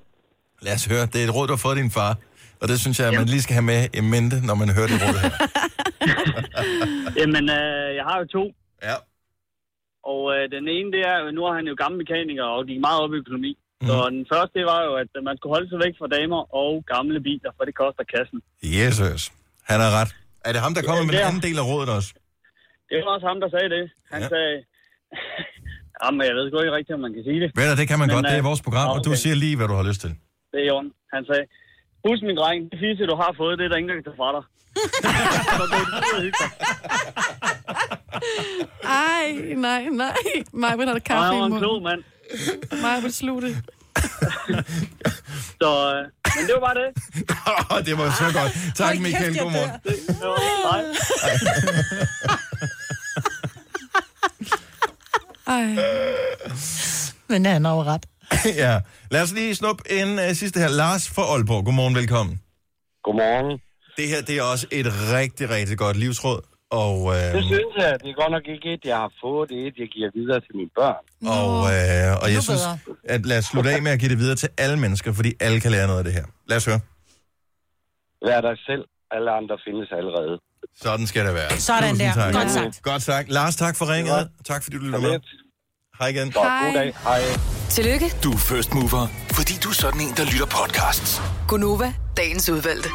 Speaker 1: Lad os høre, det er et råd, du har fået af din far. Og det synes jeg, at man lige skal have med i mente, når man hører det råd her.
Speaker 12: Jamen, øh, jeg har jo to.
Speaker 1: Ja.
Speaker 14: øh,
Speaker 12: Og øh, den ene, det er, nu er han jo gammel mekaniker, og de er meget op i økonomi.
Speaker 1: Mm.
Speaker 14: Så den første, det var jo, at øh, man skulle holde sig væk fra damer og gamle biler, for det koster kassen.
Speaker 1: Jesus. Han har ret. Er det ham, der kommer med
Speaker 14: det
Speaker 1: den
Speaker 14: er
Speaker 1: anden del af rådet også?
Speaker 14: Det var også ham, der sagde det. Han ja. sagde... Jamen, jeg ved sgu ikke rigtigt, om man kan sige det.
Speaker 1: Ved du, det kan man
Speaker 14: Men,
Speaker 1: godt. Det er
Speaker 14: øh,
Speaker 1: vores program,
Speaker 14: nå,
Speaker 1: og du siger lige, hvad du har lyst til.
Speaker 14: Det er Jorden. Han sagde, husk min dreng, det fisse, du har fået, det er der ingen, der kan tage fra dig. Så blev det skide hyggeligt.
Speaker 5: Ej, nej, nej. Mig vil have det
Speaker 14: Ej,
Speaker 5: kaffe
Speaker 14: han
Speaker 5: i
Speaker 14: var en
Speaker 5: munden.
Speaker 14: klog mand.
Speaker 5: Mig vil sluge det.
Speaker 14: Så, øh, men det var bare det.
Speaker 1: Åh, det var så godt. Tak, Michael. Godmorgen.
Speaker 14: Det var, nej.
Speaker 2: Men han har jo ret.
Speaker 1: ja. Lad os lige snuppe en uh, sidste her. Lars fra Aalborg. Godmorgen, velkommen. Godmorgen. Det her, det er også et rigtig, rigtig godt livsråd. Og, øh,
Speaker 15: Det synes jeg. Det er godt nok ikke et, jeg har fået. Det er et, jeg giver videre til mine børn.
Speaker 1: og, øh, og
Speaker 15: Endnu
Speaker 1: jeg synes,
Speaker 15: bedre.
Speaker 1: at lad os slutte af med at give det videre til alle mennesker, fordi alle kan lære noget af det her. Lad os høre.
Speaker 15: Vær dig selv. Alle andre findes allerede.
Speaker 1: Sådan skal det være.
Speaker 2: Sådan
Speaker 1: Tusind
Speaker 2: der.
Speaker 1: Tak.
Speaker 2: Godt sagt.
Speaker 1: Godt sagt. Lars, tak for ringet. Tak fordi du lyttede med. Hej igen.
Speaker 15: Godt. God dag. Hej.
Speaker 6: Tillykke,
Speaker 7: Du er first mover, fordi du er sådan en, der lytter podcasts.
Speaker 6: Gunova, dagens udvalgte.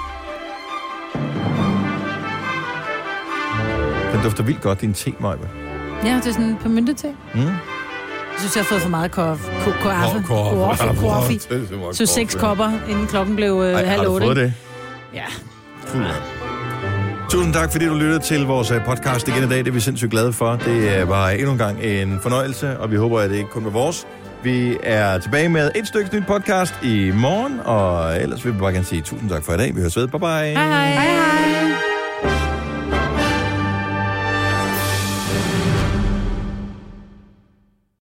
Speaker 1: Den dufter vildt godt, din te, Hmm? Majbe.
Speaker 2: Ja, det er sådan på myndighed.
Speaker 1: Mm.
Speaker 2: Jeg synes, jeg har fået for meget kof, ko, kaffe.
Speaker 1: Ko- kaffe.
Speaker 2: Kaffe.
Speaker 1: Kaffe.
Speaker 2: Kaffe. Så seks kopper, inden klokken blev øh, halv
Speaker 1: har du
Speaker 2: otte.
Speaker 1: fået det?
Speaker 2: Ja.
Speaker 1: Fuld af. Tusind tak, fordi du lyttede til vores øh, podcast igen i dag. Det er vi sindssygt glade for. Det øh, var endnu en gang en fornøjelse, og vi håber, at det ikke kun var vores. Vi er tilbage med et stykke nyt podcast i morgen, og ellers vil vi bare gerne sige tusind tak for i dag. Vi høres ved. Bye bye.
Speaker 5: Hej, hej.